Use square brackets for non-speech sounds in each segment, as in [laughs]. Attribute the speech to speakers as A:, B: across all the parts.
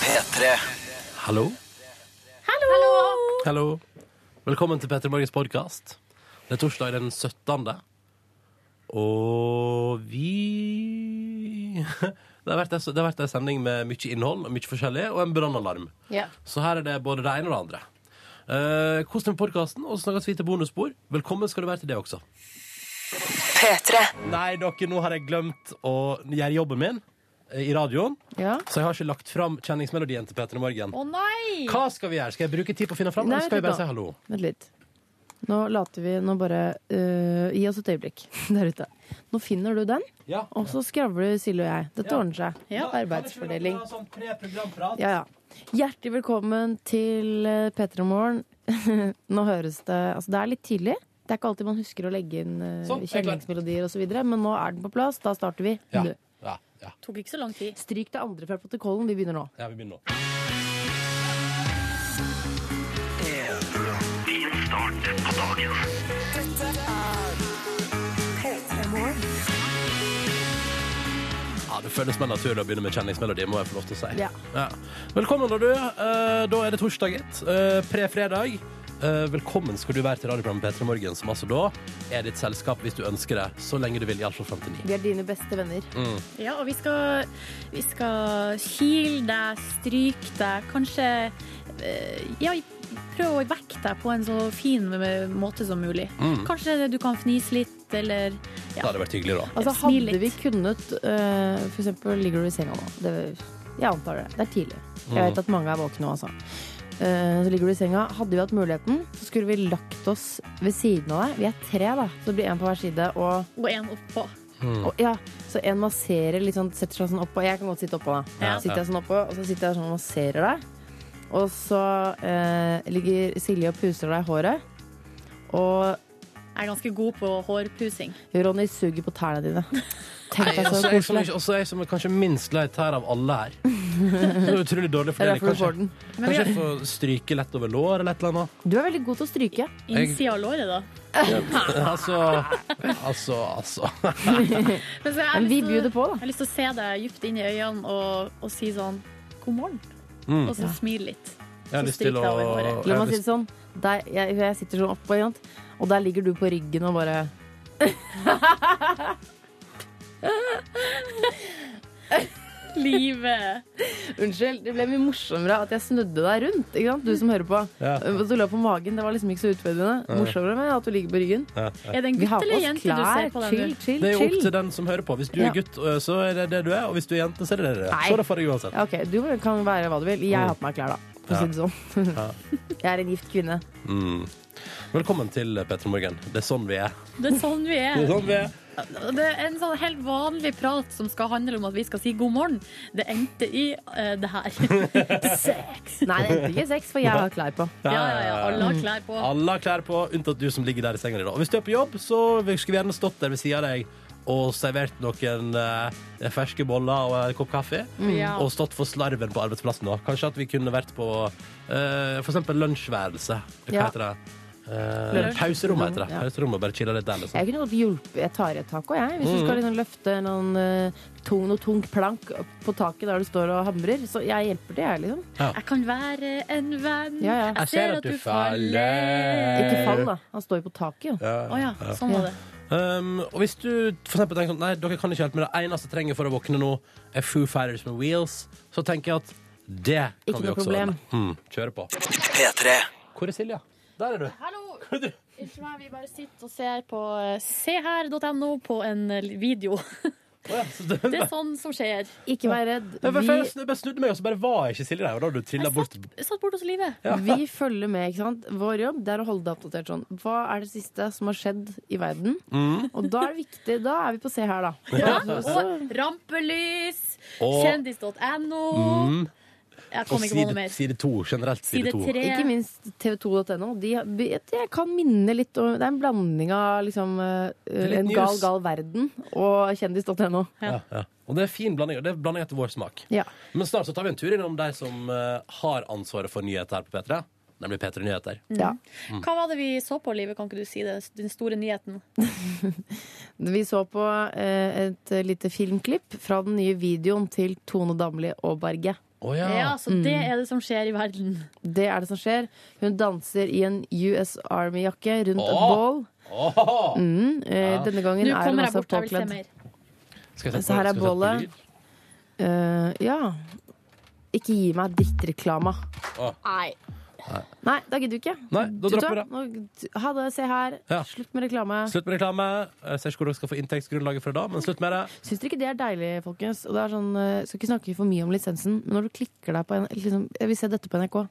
A: P3.
B: Hallo.
C: Hallo!
B: Hallo. Velkommen til Petter Morgens podkast. Det er torsdag den 17. Og vi [laughs] Det har vært en- det har vært en sending med mye innhold og mye forskjellig, og en brannalarm.
C: Ja.
B: Så her er det både det ene og det andre. Eh, Kos deg med podkasten, og så snakkes vi til bonusspor. Velkommen skal du være til det også.
D: P3.
B: Nei, dere, nå har jeg glemt å gjøre jobben min eh, i radioen,
C: Ja.
B: så jeg har ikke lagt fram kjenningsmelodien til Peter Morgen.
C: Å nei!
B: Hva skal vi gjøre? Skal jeg bruke tid på å finne fram,
C: Nei,
B: eller skal jeg
C: vet
B: bare
C: du
B: si
C: hva?
B: hallo?
C: Vent litt. Nå later vi Nå bare øh, Gi oss et øyeblikk [laughs] der ute. Nå finner du den,
B: Ja.
C: og så skravler Silje og jeg. Dette
B: Ja.
C: ordner seg. Arbeidsfordeling.
B: Sånn
C: Ja, ja. Hjertelig velkommen til eh, P3 Morgen. [laughs] Nå høres det Altså, det er litt tidlig. Det er ikke alltid man husker å legge inn eh,
B: Sånn, jeg er klar.
C: kjenningsmelodier osv., men nå er den på plass. Da starter vi
B: ja.
C: nå.
B: Ja, ja,
E: Tok ikke så lang tid.
C: Stryk det andre fra protokollen. Vi begynner nå.
B: ja, vi begynner nå. Ja, Det føles mer naturlig å begynne med kjenningsmelodi, må jeg få lov til å si.
C: Ja.
B: Ja. Velkommen, da, du. Eh, Da er det torsdag, gitt. Eh, Pre-fredag. Eh, Velkommen skal du være til radioprogrammet P3 Morgen, som altså da er ditt selskap hvis du ønsker det, så lenge du vil, iallfall frem til ni.
C: Vi er dine beste venner.
E: Ja, og vi skal, vi skal heal deg, stryke deg, kanskje eh, Ja, prøve å vekke deg på en så fin eh, måte som mulig. Kanskje du kan fnise litt, eller
B: Det hadde vært hyggelig, da.
C: Altså,
E: Smil
C: hadde
E: litt.
C: vi kunnet eh, For eksempel ligger du i senga nå. Det, jeg antar det. Det er tidlig. Jeg
B: Mm.
C: vet at mange er våkne nå, altså. Eh, så ligger du i senga. Hadde vi hatt muligheten, så skulle vi lagt oss ved siden av deg. Vi er tre, da, så det blir én på hver side. Og,
E: gå en oppå.
C: og ja, så en masserer litt sånn, setter seg sånn oppå. Jeg kan godt sitte oppå, da.
E: Ja.
C: Så Sitter jeg sånn oppå, og så sitter jeg sånn og masserer deg. Og så eh, ligger Silje og puser deg i håret. Og
E: Jeg er ganske god på hårpusing.
C: Ronny suger på tærne dine. Tenk
B: Nei,
C: deg
B: altså,
C: så
B: jeg som,
C: koselig.
B: også jeg som er kanskje minst lei tær av alle
C: [laughs]
B: her. Det er utrolig dårlig
C: Det er
B: fordeling.
C: derfor du får
B: Kanskje,
C: den.
E: Men vi
B: kanskje
E: har
B: jeg får stryke lett over lår eller et eller
C: [laughs]
B: annet.
C: Du er veldig god til å stryke.
E: innsida av låret, da.
B: Altså, altså, altså.
E: Men så jeg har
C: Men vi
E: lyst til-
C: byr det på, da.
E: Jeg har lyst til å se deg djupt inn i øynene og, og si sånn god morgen. Og så smile litt.
B: Jeg har
E: Så
B: lyst til
E: stryk
B: å
E: deg over håret.
B: jeg
C: La
B: har
C: meg si
B: lyst,
C: det sånn. Der, jeg, jeg sitter sånn oppå, ikke sant? og der ligger du på ryggen og bare
E: Livet.
C: Unnskyld, det ble mye morsommere at jeg snudde deg rundt. Ikke sant? Du som hører på.
B: Ja.
C: At du lå på magen, det var liksom ikke så utfordrende. Morsommere med at du ligger på ryggen.
E: Er det en
C: Vi
E: gutt
C: har på
E: eller
C: oss
E: jente du ser
C: klær.
E: på den?
C: Chill,
E: du?
C: chill,
B: det er jo opp
C: chill.
B: til den som hører på. Hvis du
C: Ja.
B: er gutt, øh, så er det det du er. Og hvis du er jente, så er det det du er.
C: Nei.
B: Så er det for deg uansett.
C: Ja, OK, du kan være hva du vil. Jeg har på meg klær, da. For å si det sånn. [laughs] Jeg er en gift kvinne.
B: Mm. Velkommen til Petter Morgen. Det er sånn vi er.
E: Det er sånn vi
B: Det
E: er.
B: er sånn vi er.
E: Og Det er en sånn helt vanlig prat som skal handle om at vi skal si god morgen. Det endte i eh, det her. [laughs] Sex!
C: Nei, det endte ikke i sex, for jeg har klær på.
E: Ja, ja, ja. Alle har klær på.
B: Alle har klær på, unntatt du som ligger der i senga di. da. Og Hvis du er på jobb, så skulle vi gjerne stått der ved sida av deg og servert noen eh, ferske boller og en kopp kaffe.
C: Mm.
E: Ja.
B: Og stått for slarven på arbeidsplassen òg. Kanskje at vi kunne vært på eh, for eksempel lunsjværelse. Hva
C: Ja.
B: heter det? Eh,
C: Lunsj.
B: pauserommet heter det.
C: Ja.
B: Pauserommet, Bare chille litt der, liksom.
C: Jeg kunne godt hjulpet Jeg tar i et tak også, jeg. Hvis du
B: Mm.
C: skal liksom løfte noen eh, tung, noe tung plank opp på taket der du står og hamrer, så jeg hjelper det, jeg, liksom.
E: Jeg kan være en venn.
C: Ja, ja.
B: Jeg ser at du faller.
C: Ikke fall, da. Han står jo på taket, jo.
E: Å ja, sånn var det.
B: Um, og hvis du for eksempel tenker sånn Nei, dere kan ikke hjelpe meg, det eneste jeg trenger for å våkne nå, er Foo Fighters med Wheels, så tenker jeg at det kan
C: Ikke
B: vi
C: noe
B: også
C: problem.
B: ordne. Mm, kjøre på.
A: P3.
B: Hvor er Silja? Der er du.
E: Hallo! Unnskyld meg, vi bare sitter og ser på eh, seher.no på en eh, video. [laughs]
B: Å ja, så det-
E: Det er sånn som skjer.
C: Ikke vær redd.
B: Jeg bare,
C: Vi,
B: jeg bare snudde meg, og så bare var jeg ikke Silje der. Og da hadde du trillet
E: Jeg
B: bort
E: satt, jeg satt borte hos Live.
C: vi følger med, ikke sant. Vår jobb det er å holde deg oppdatert sånn. Hva er det siste som har skjedd i verden?
B: Mm.
C: Og da er det viktig. Da er vi på se her, da.
E: Ja, og rampelys,
B: Og- Mm.
E: kjendis.no. Jeg
B: på
E: kom ikke på
B: side,
E: noe mer.
B: side to. Generelt side
E: Side
B: to.
E: tre.
C: Ikke minst tv2.no. De, jeg kan minne litt om Det er en blanding av liksom eh,
B: er litt
C: En gal,
B: news.
C: gal verden og kjendis.no.
B: Ja, ja. Og det er fin blanding. og Det er blanding etter vår smak.
C: Ja.
B: Men snart så tar vi en tur innom de som eh, har ansvaret for nyheter her på P3. Nemlig P3 Nyheter.
C: ja.
E: Hva var det vi så på, Live? Kan ikke du si det? Den store nyheten.
C: Vi så på eh, et lite filmklipp fra den nye videoen til Tone Damli og Berge.
B: Å, Å ja.
E: Ja, så det
C: Mm.
E: er det som skjer i verden.
C: Det er det som skjer. Hun danser i en US Army-jakke rundt et
B: Åh!
C: bål.
B: Åh!
C: Mm, eh, Denne gangen er
E: Nå
C: hun
E: kommer jeg
C: altså
E: bort, jeg vil se
C: påkledd
E: mer.
B: Skal jeg sette
C: Så
B: på- skal jeg
C: her er
B: sette på
C: bålet.
B: lyd?
C: Eh, ja. Ikke gi meg drittreklama.
B: Åh.
C: Nei. Nei, da gidder du ikke.
B: Nei, da
C: Du tar-
B: dropper vi det.
C: nå- Ha det, se her.
B: Ja.
C: Slutt med reklame.
B: Slutt med reklame. Jeg ser ikke hvor dere skal få inntektsgrunnlaget fra da, men slutt med det.
C: Syns dere ikke det er deilig, folkens? Og det er sånn, eh, skal ikke snakke for mye om lisensen, men når du klikker deg på en, liksom, Jeg vil se dette på NRK,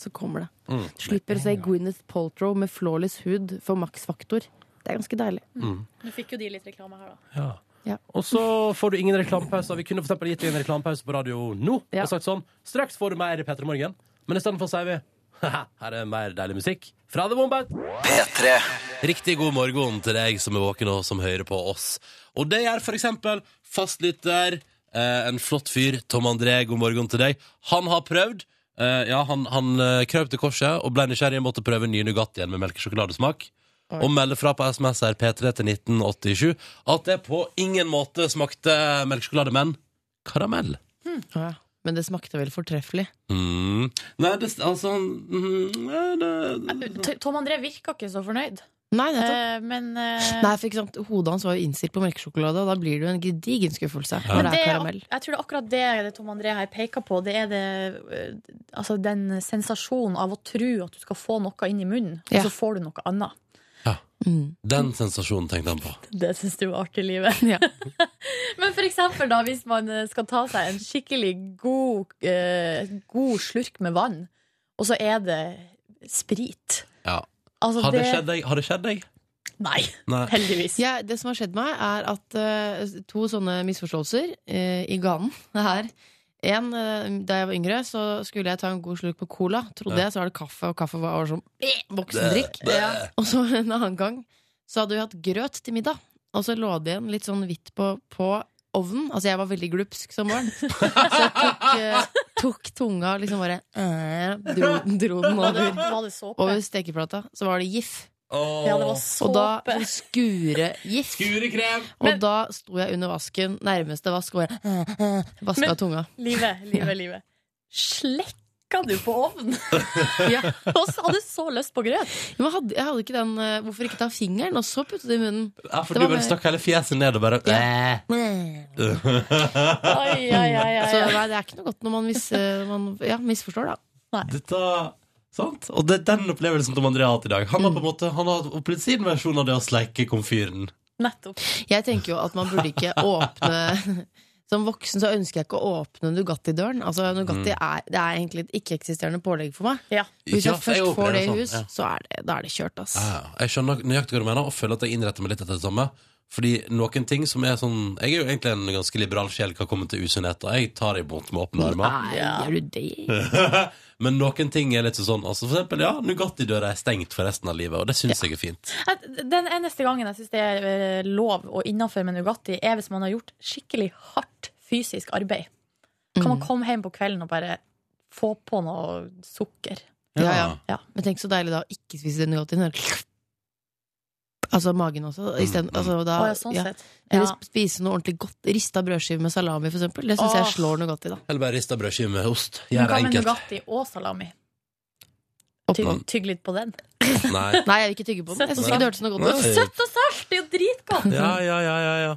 C: så kommer det. Slipper å se Gwyneth Paltrow med flawless hud for maksfaktor. Det er ganske deilig.
E: Nå fikk jo de litt reklame her, da.
B: Ja.
C: Ja.
B: Og så får du ingen reklamepauser. Vi kunne for eksempel gitt deg en reklamepause på radio nå
C: Ja.
B: og sagt sånn Straks får du mer P3 Morgen, men istedenfor sier vi [laughs] «Haha, her er mer deilig musikk fra The Wombat.
A: P3
B: Riktig god morgen til deg som er våken og som hører på oss. Og det gjør for eksempel fastlytter, eh, en flott fyr, Tom André, god morgen til deg. Han har prøvd. Eh, ja, han, han eh, krøp til korset og ble nysgjerrig og måtte prøve nye Nugatti igjen med melkesjokoladesmak. Og melder fra på SMS her P3 til 1987 at det på ingen måte smakte melkesjokolade, men karamell.
C: Ja, men det smakte vel fortreffelig.
B: Mm. Nei, det, altså mm, nei, det,
E: T- Tom André virka ikke så fornøyd,
C: Nei, nettopp.
E: eh, men eh,
C: Nei, for ikke sant, Hodet hans var jo innstilt på melkesjokolade, og da blir det jo en gedigen skuffelse.
B: Ja.
C: Når
E: Men
C: det
E: det
C: er
E: er
C: karamell.
E: ak- Jeg tror det er akkurat det det Tom André her peker på. Det er det, eh, altså den sensasjonen av å tro at du skal få noe inn i munnen,
C: Ja.
E: og så får du noe annet.
C: Mm.
B: den sensasjonen tenkte han på.
E: Det syns du var artig i livet.
C: Ja.
E: [laughs] Men for eksempel da, hvis man eh, skal ta seg en skikkelig god, eh, god slurk med vann, og så er det sprit.
B: Ja.
E: Altså,
B: Har det
E: det-
B: skjedd deg? Har det skjedd deg?
E: Nei,
B: Nei.
E: heldigvis.
C: Jeg- det som har skjedd meg, er at eh, to sånne misforståelser eh, i ganen her en, eh, Da jeg var yngre, så skulle jeg ta en god slurk med cola. Trodde
B: Ja.
C: jeg, så var det kaffe, og kaffe var, var sånn eh, voksendrikk.
E: Ja.
C: Og så en annen gang så hadde vi hatt grøt til middag, og så lå det igjen litt sånn hvitt på, på ovnen. Altså, jeg var veldig glupsk som barn. Så jeg tok, eh, tok tunga og liksom bare eh, dro, dro den
E: Var det,
C: over,
E: var det såpe?
C: over stekeplata. Så var det gif.
B: Åh.
E: Ja, det var såpe.
C: Og da sånn skuregif.
B: Skurekrem!
C: Og
E: Men-
C: da sto jeg under vasken, nærmeste vask, og jeg vaska
E: Men-
C: tunga.
E: Livet, livet, livet. Slekka du på ovnen?
C: Ja.
E: [laughs] Og så hadde du så lyst på grøt.
C: Men hadde, jeg hadde ikke den eh, Hvorfor ikke ta fingeren og så putte det i munnen?
B: Ja, for
C: Det
B: du
C: var
B: bare
C: meg.
B: stakk hele fjeset ned og bare
C: Ja.
E: Oi, oi, oi, oi,
C: Så
E: oi.
C: nei, det er ikke noe godt når man, mis, eh, man ja, misforstår, da.
B: Dette Sant? Og det er den opplevelsen Tom André har hatt i dag. Han har
C: Mm.
B: på en måte Han har opplevd sin versjon av det å sleike komfyren.
E: Nettopp.
C: Jeg tenker jo at man burde ikke åpne [laughs] Som voksen så ønsker jeg ikke å åpne Nugatti-døren. Altså, Nugatti er, det er egentlig et ikke-eksisterende pålegg for meg.
E: Ja.
C: Hvis
B: Ja,
C: jeg
B: for jeg
C: først får
B: opplever
C: det i
B: sånn,
C: hus,
B: ja. Ah,
C: så er det, da er det kjørt, ass.
B: Ja, Jeg skjønner nøyaktig hva du mener, og føler at jeg innretter meg litt etter det samme. Fordi noen ting som er sånn Jeg er jo egentlig en ganske liberal sjel hva kommer til usunnhet, og jeg tar det imot med åpne armer.
C: Nei, gjør du det?
B: Men noen ting er litt sånn altså For eksempel, ja, Nugatti-døra er stengt for resten av livet, og det syns jeg er fint.
E: Jeg- Den eneste gangen jeg syns det er eh, lov og innafor med Nugatti, er hvis man har gjort skikkelig hardt fysisk arbeid. Kan man komme hjem på kvelden og bare få på noe sukker?
C: Ja, ja. Men tenk så deilig da å ikke spise den Nugattien. [laughs] Altså magen også. i stedet-
B: Mm.
C: altså, da,
E: Å, ja, sånn
C: ja.
E: sett.
C: Eller
E: Ja.
C: spise noe ordentlig godt. Rista brødskive med salami, for eksempel. Det syns jeg
E: Åh.
C: slår Nugatti, da.
B: Eller bare rista brødskive med ost.
E: Men
B: Gjør det
E: Hva med
B: enkelt.
E: Nugatti og salami? Ty
C: Oppå.
E: tygg litt på den.
C: [laughs]
B: Nei.
C: Nei, jeg vil ikke tygge på den. Jeg syns ikke det hørtes noe godt ut.
B: Nei.
E: Søtt og salt! Det er jo dritgodt!
B: [laughs] Ja, ja, ja, ja, ja.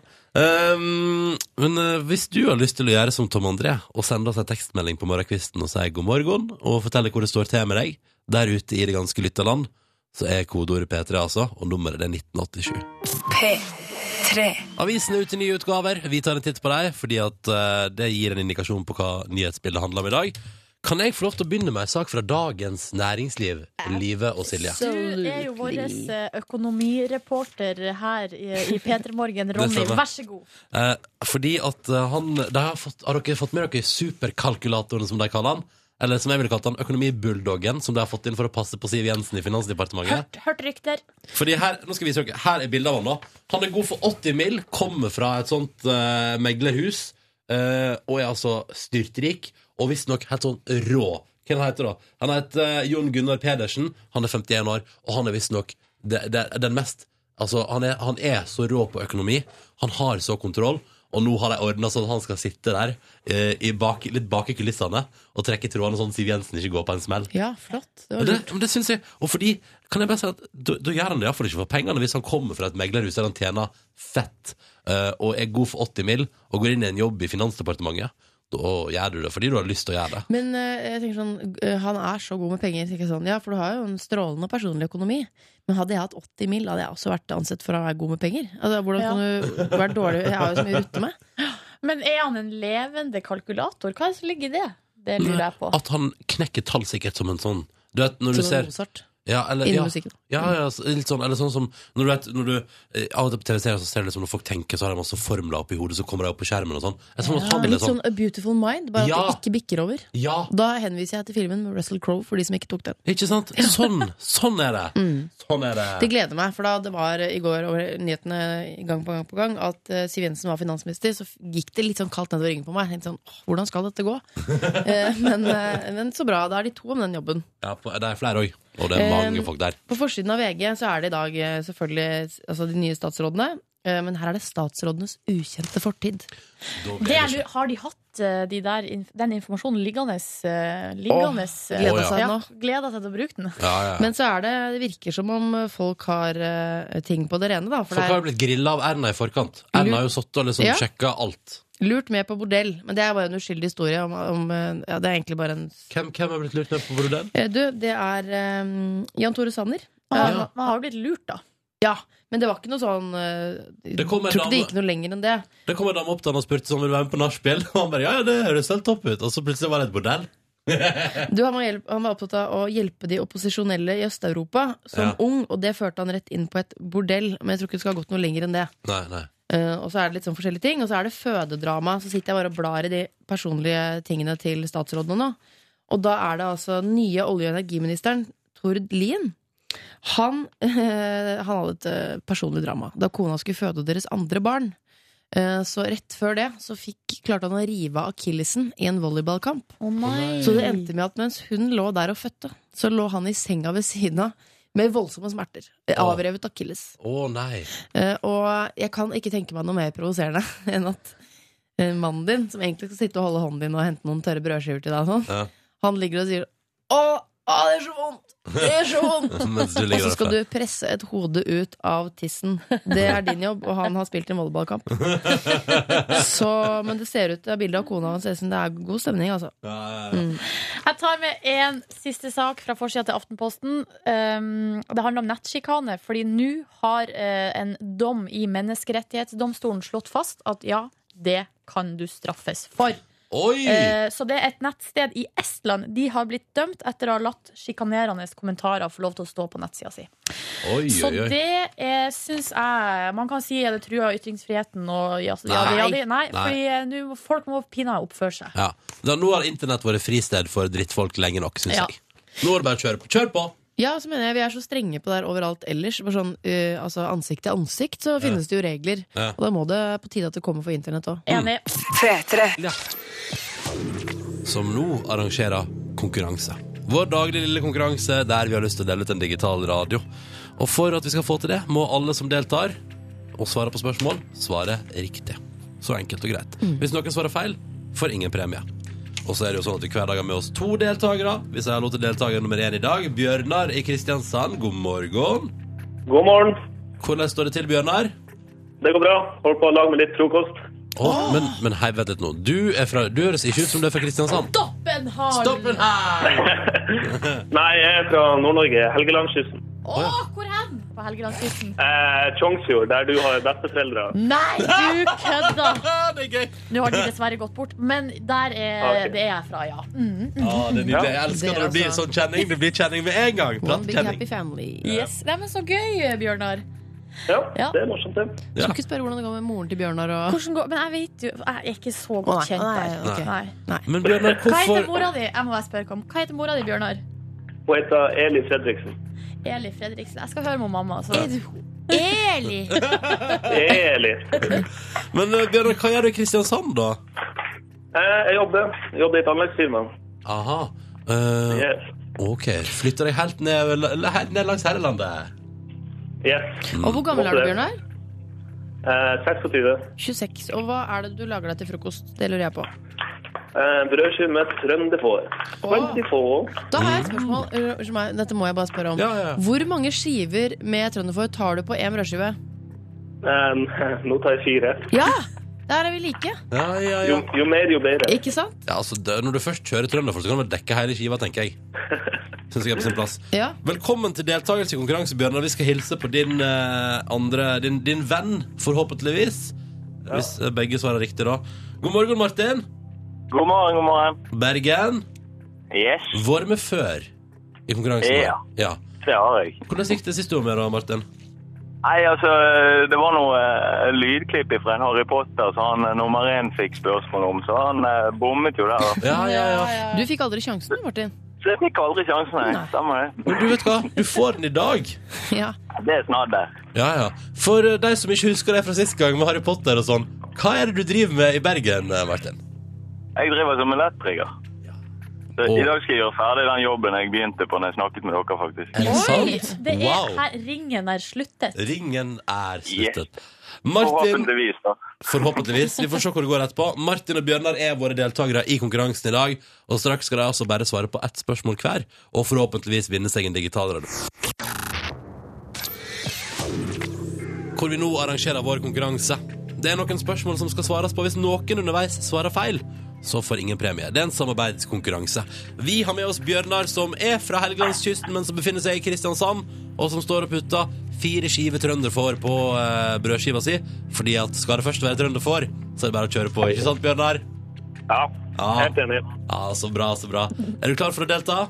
B: Ehm, men eh, hvis du har lyst til å gjøre som Tom André og sende oss en tekstmelding på morgenkvisten og si god morgen, og fortelle hvor det står til med deg der ute i det ganske lytta land, så er kodeordet P3, altså, og nummeret det er 1987.
D: P3
B: Avisen er ute i nye utgaver. Vi tar en titt på dem, fordi at eh, det gir en indikasjon på hva nyhetsbildet handler om i dag. Kan jeg få lov til å begynne med en sak fra Dagens Næringsliv, Live og Silje?
E: Du er jo vår eh, økonomireporter her i, i P3 Morgen. Ronny,
B: stemmer.
E: vær så god.
B: Eh, fordi at eh, han de har, fått, har dere fått med dere superkalkulatoren, som de kaller han? Eller som jeg ville kalt han, økonomibulldoggen, som de har fått inn for å passe på Siv Jensen i Finansdepartementet.
E: Hørt, hørt rykter.
B: Fordi her, nå skal jeg vise dere, her er bildet av han da. Han er god for 80 mil, kommer fra et sånt eh, meglerhus, eh, og er altså styrtrik, og visstnok helt sånn rå. Hva han heter da? Han heter eh, Jon Gunnar Pedersen, han er 51 år, og han er visstnok det- det- den mest Altså, han er, han er så rå på økonomi, han har så kontroll, Og nå har de ordna sånn at han skal sitte der eh, i bak, litt bak i kulissene og trekke trådene sånn at Siv Jensen ikke går på en smell.
C: Ja, flott. Det
B: Og
C: var
B: det,
C: lurt.
B: men det synes jeg, og fordi, kan jeg bare si at Da da gjør han det iallfall ikke for pengene hvis han kommer fra et meglerhus der han tjener fett eh, og er god for 80 mill. og går inn i en jobb i Finansdepartementet. Da gjør du det fordi du har lyst til å gjøre det.
C: Men eh, jeg tenker sånn, eh, han er så god med penger. tenker jeg sånn, ja, For du har jo en strålende personlig økonomi. Men hadde jeg hatt 80 mill., hadde jeg også vært ansett for å være god med penger. Altså, hvordan
E: Ja.
C: kan du være dårlig? Jeg har jo så mye å rutte med.
E: Men er han en levende kalkulator? Hva er det som ligger i det? Det lurer jeg på.
B: At han knekker tall sikkert som en sånn Du vet, når [laughs] du
C: Som en
B: ser
C: Mozart
B: ja, eller, ja,
C: innen musikken.
B: ja, ja, så- litt sånn, eller sånn som Når du vet, når du eh, Av og til på TV-serier så ser du liksom når folk tenker, så har de masse formler oppi hodet, så kommer de opp på skjermen og sånn. Jeg tror at han er
C: Litt
B: litt sånn
C: sånn A Beautiful Mind, bare
B: Ja.
C: at det ikke bikker over.
B: Ja,
C: Da henviser jeg til filmen med Russell Crowe for de som ikke tok den.
B: ikke sant? Sånn! Sånn er det! Sånn er
C: Mm. Det
B: det.
C: gleder meg, for da det var i går over nyhetene gang på gang på gang at eh, Siv Jensen var finansminister, så f- gikk det litt sånn kaldt nedover ryggen på meg. Jeg tenkte sånn, «Åh, hvordan skal dette gå? Eh, men, eh, men så bra, da er de to om den jobben.
B: Ja, på- det er flere òg. Og det er mange
C: Eh,
B: folk der.
C: På forsiden av VG så er det i dag eh, selvfølgelig altså de nye statsrådene, eh, men her er det statsrådenes ukjente fortid.
B: Da blir det
E: Det jeg lurer- har de hatt eh, de der, inf- den informasjonen liggende? eh, liggende eh,
B: gleder seg
E: ja,
C: nå.
E: gleder seg til å bruke den.
B: Ja, ja.
C: Men så er det, det virker som om eh, folk har eh, ting på det rene, da. For
B: Folk
C: det
B: har
C: er
B: jo blitt grilla av Erna i forkant. Erna har jo sittet og liksom
C: Ja.
B: sjekka alt.
C: lurt med på bordell, men det er bare en uskyldig historie om, om eh, Ja, det er egentlig bare en
B: Hvem, hvem har blitt lurt ned på brodell?
C: Eh, Du, det er eh, Jan Tore Sanner.
E: Man,
B: Ja.
E: man Eh, har jo blitt lurt, da.
C: Ja, men det var ikke noe sånn eh, Jeg
B: kom en
C: Tror ikke det
B: dame-
C: gikk noe lenger enn det.
B: Det kom en dame opp til han og spurte om han ville være med på nachspiel. [laughs] Og han bare ja, ja, det høres helt topp ut. Og så plutselig var det et bordell.
C: Du, han, var hjelp, han var opptatt av å hjelpe de opposisjonelle i Øst-Europa som
B: Ja.
C: ung, og det førte han rett inn på et bordell. Men jeg tror ikke det skal ha gått noe lenger enn det.
B: Nei, nei.
C: Eh, og så er det litt sånn forskjellige ting Og så er det fødedrama. Så sitter jeg bare og blar i de personlige tingene til statsrådene nå. Og da er det altså den nye olje- og energiministeren, Tord Lien. Han, eh, han hadde et eh, personlig drama da kona skulle føde deres andre barn. Eh, så rett før det så fikk, klarte han å rive av akillesen i en volleyballkamp.
B: nei.
C: Så det endte med at mens hun lå der og fødte, så lå han i senga ved siden av med voldsomme smerter. Eh, Avrevet akilles.
B: Å [laughs] nei.
C: Eh, og jeg kan ikke tenke meg noe mer provoserende [laughs] enn at eh, mannen din, som egentlig skal sitte og holde hånden din og hente noen tørre brødskiver til deg, og sånn,
B: Ja.
C: han ligger og sier Å, å, det er så vondt! Det er så vondt!
B: Mens du
C: Og så
B: [laughs] ligger
C: skal
B: der.
C: du presse et hode ut av tissen. Det er din jobb, og han har spilt en
B: [laughs]
C: volleyballkamp. Så, men det ser ut det er bilde av kona hans. Det ser ut som det er god stemning, altså.
B: Ja, ja, ja.
E: Jeg tar med en siste sak fra forsida til Aftenposten. Um, det handler om nettsjikane. Fordi nå har eh, en dom i Menneskerettighetsdomstolen slått fast at ja, det kan du straffes for.
B: Oi!
E: Eh, så det er et nettsted i Estland. De har blitt dømt etter å ha latt sjikanerende kommentarer få lov til å stå på nettsida si.
B: Oi,
E: Så
B: oi, oi.
E: det eh, syns jeg Man kan si er det trua ytringsfriheten og ja, ja,
B: Nei.
E: ja, det- Nei,
B: Nei.
E: fordi eh, nå- folk må pinadø oppføre seg.
B: Ja. Da, nå har internett vært fristed for drittfolk lenge nok, syns
E: Ja.
B: jeg. Nå er det bare å kjøre på. Kjør på!
C: Ja, så mener jeg vi er så strenge på det her overalt ellers. Bare sånn, eh, altså Ansikt til ansikt så finnes det jo regler.
B: Ja.
C: Og da må det på tide at det kommer for internett òg.
B: Mm.
E: Enig.
D: Tre, tre.
B: som nå arrangerer konkurranse. Vår daglige lille konkurranse der vi har lyst til å dele ut en digital radio. Og for at vi skal få til det, må alle som deltar og svarer på spørsmål, svare riktig. Så enkelt og greit. Hvis noen svarer feil, får ingen premie. Og så er det jo sånn at vi hver dag har med oss to deltakere. Hvis jeg har lov til deltaker nummer én i dag, Bjørnar i Kristiansand. God morgen.
A: God morgen.
B: Hvordan står det til, Bjørnar?
A: Det går bra. Holder på å lage meg litt frokost.
B: Å, men, men hei, vent litt nå. Du, er fra, du høres ikke ut som du er fra Kristiansand.
E: Stoppenhall!
B: Stoppen her!
A: Nei, jeg er fra Nord-Norge. Helgelandskysten.
E: Å, hvor hen? På Helgelandskysten.
A: Eh, Tjongsfjord, der du har besteforeldre.
E: Nei,
B: [laughs]
E: du kødder!
B: [laughs] det er gøy!
E: Nå har de dessverre gått bort, men der er,
B: Ah,
A: Ok.
E: det er jeg fra, ja. Mm.
B: Ja, det er nydelig. Jeg
C: Det
B: elsker
C: er
B: når det blir
C: altså-
B: sånn kjenning. Det blir kjenning med en gang.
C: One big
B: Prattkjenning.
C: happy family.
E: Yes. Nei, men så gøy, Bjørnar.
A: Ja,
E: Ja.
A: det er morsomt, det.
B: Ja.
C: Skal ikke spørre hvordan det går med moren til Bjørnar og
E: Hvordan går Men jeg vet jo Jeg er ikke
C: Å,
E: så
C: nei,
E: godt kjent
C: nei,
E: der.
C: ok.
E: Nei.
B: Men Bjørnar,
E: Hva heter
B: hvorfor
E: mora di? Jeg må bare spørre om Hva heter mora di, Bjørnar?
A: Hun heter Eli Fredriksen.
E: Eli Fredriksen. Jeg skal høre med mamma. altså. Så.
C: Eli!
A: Eli.
B: Men eh, Bjørnar, hva gjør du i Kristiansand, da?
A: Eh, jeg jobber. Jeg jobber i tannlegefirmaet.
B: Aha. Eh,
A: Yes.
B: OK. Flytter deg helt ned, eller helt ned langs herrelandet?
A: yes.
C: Mm.
B: Mm.
C: Og hvor gammel er du, Bjørnar?
A: Eh, 26.
C: 26. Og hva er det du lager deg til frokost? Det lurer jeg på.
A: Eh, brødskive med trønderfår.
C: Åh.
A: 24.
C: Da har jeg et spørsmål. øh, unnskyld meg, Dette må jeg bare spørre om.
B: Mm. Ja, ja.
C: Hvor mange skiver med trønderfår tar du på én brødskive?
A: Eh, [laughs] nå tar jeg fire.
C: Ja! Der er vi like.
B: Ja, ja,
A: Jo, jo mer, jo bedre.
C: Ikke sant?
B: Ja, altså, det, Når du først kjører Trønderfors, så kan du vel dekke hele skiva, tenker
A: [laughs]
B: jeg. Synes jeg er på sin plass.
C: Ja.
B: Velkommen til deltakelse i konkurranse, Bjørnar. Vi skal hilse på din, eh, andre, din, din venn, forhåpentligvis. Hvis eh, begge svarer riktig, da. God morgen, Martin.
F: God morgen, god morgen.
B: Bergen.
F: Yes,
B: Var med før i konkurransen. da.
F: Ja.
B: ja.
F: det har jeg.
B: Hvordan gikk det siste du var med, da, Martin?
F: Nei, altså, det var noe eh, lydklipp fra en Harry Potter som han eh, nummer én fikk spørsmål om, så han eh, bommet jo der. da.
B: Ja, ja, ja.
C: Du fikk aldri sjansen, Martin.
F: Så jeg fikk aldri sjansen, nei.
C: Nei.
F: Stemmer det.
B: Men du vet hva? Du får den i dag.
C: Ja.
F: Det er snadder.
B: Ja, ja. For eh, de som ikke husker det fra sist gang med Harry Potter og sånn, hva er det du driver med i Bergen, eh, Martin?
F: Jeg driver som elektriker. Så
B: Og-
F: I dag skal jeg gjøre ferdig den jobben jeg begynte på når jeg snakket med dere, faktisk.
B: Er det sant?
E: Det er
B: Wow.
E: her ringen er sluttet.
B: Ringen er sluttet. Martin,
F: Forhåpentligvis, da.
B: forhåpentligvis. Vi får se hvor det går etterpå. Martin og Bjørnar er våre deltakere i konkurransen i dag. Og straks skal de altså bare svare på ett spørsmål hver, og forhåpentligvis vinne seg en digital radio. Hvor vi nå arrangerer vår konkurranse. Det er noen spørsmål som skal svares på. Hvis noen underveis svarer feil, så får ingen premie. Det er en samarbeidskonkurranse. Vi har med oss Bjørnar, som er fra Helgelandskysten, men som befinner seg i Kristiansand, og som står og putter fire skiver trønderfår på eh, brødskiva si. Fordi at skal det først være trønderfår, så er det bare å kjøre på. Ikke sant, Bjørnar?
A: Ja,
B: Ja.
A: helt enig.
B: ja, så bra, så bra. Er du klar for å delta?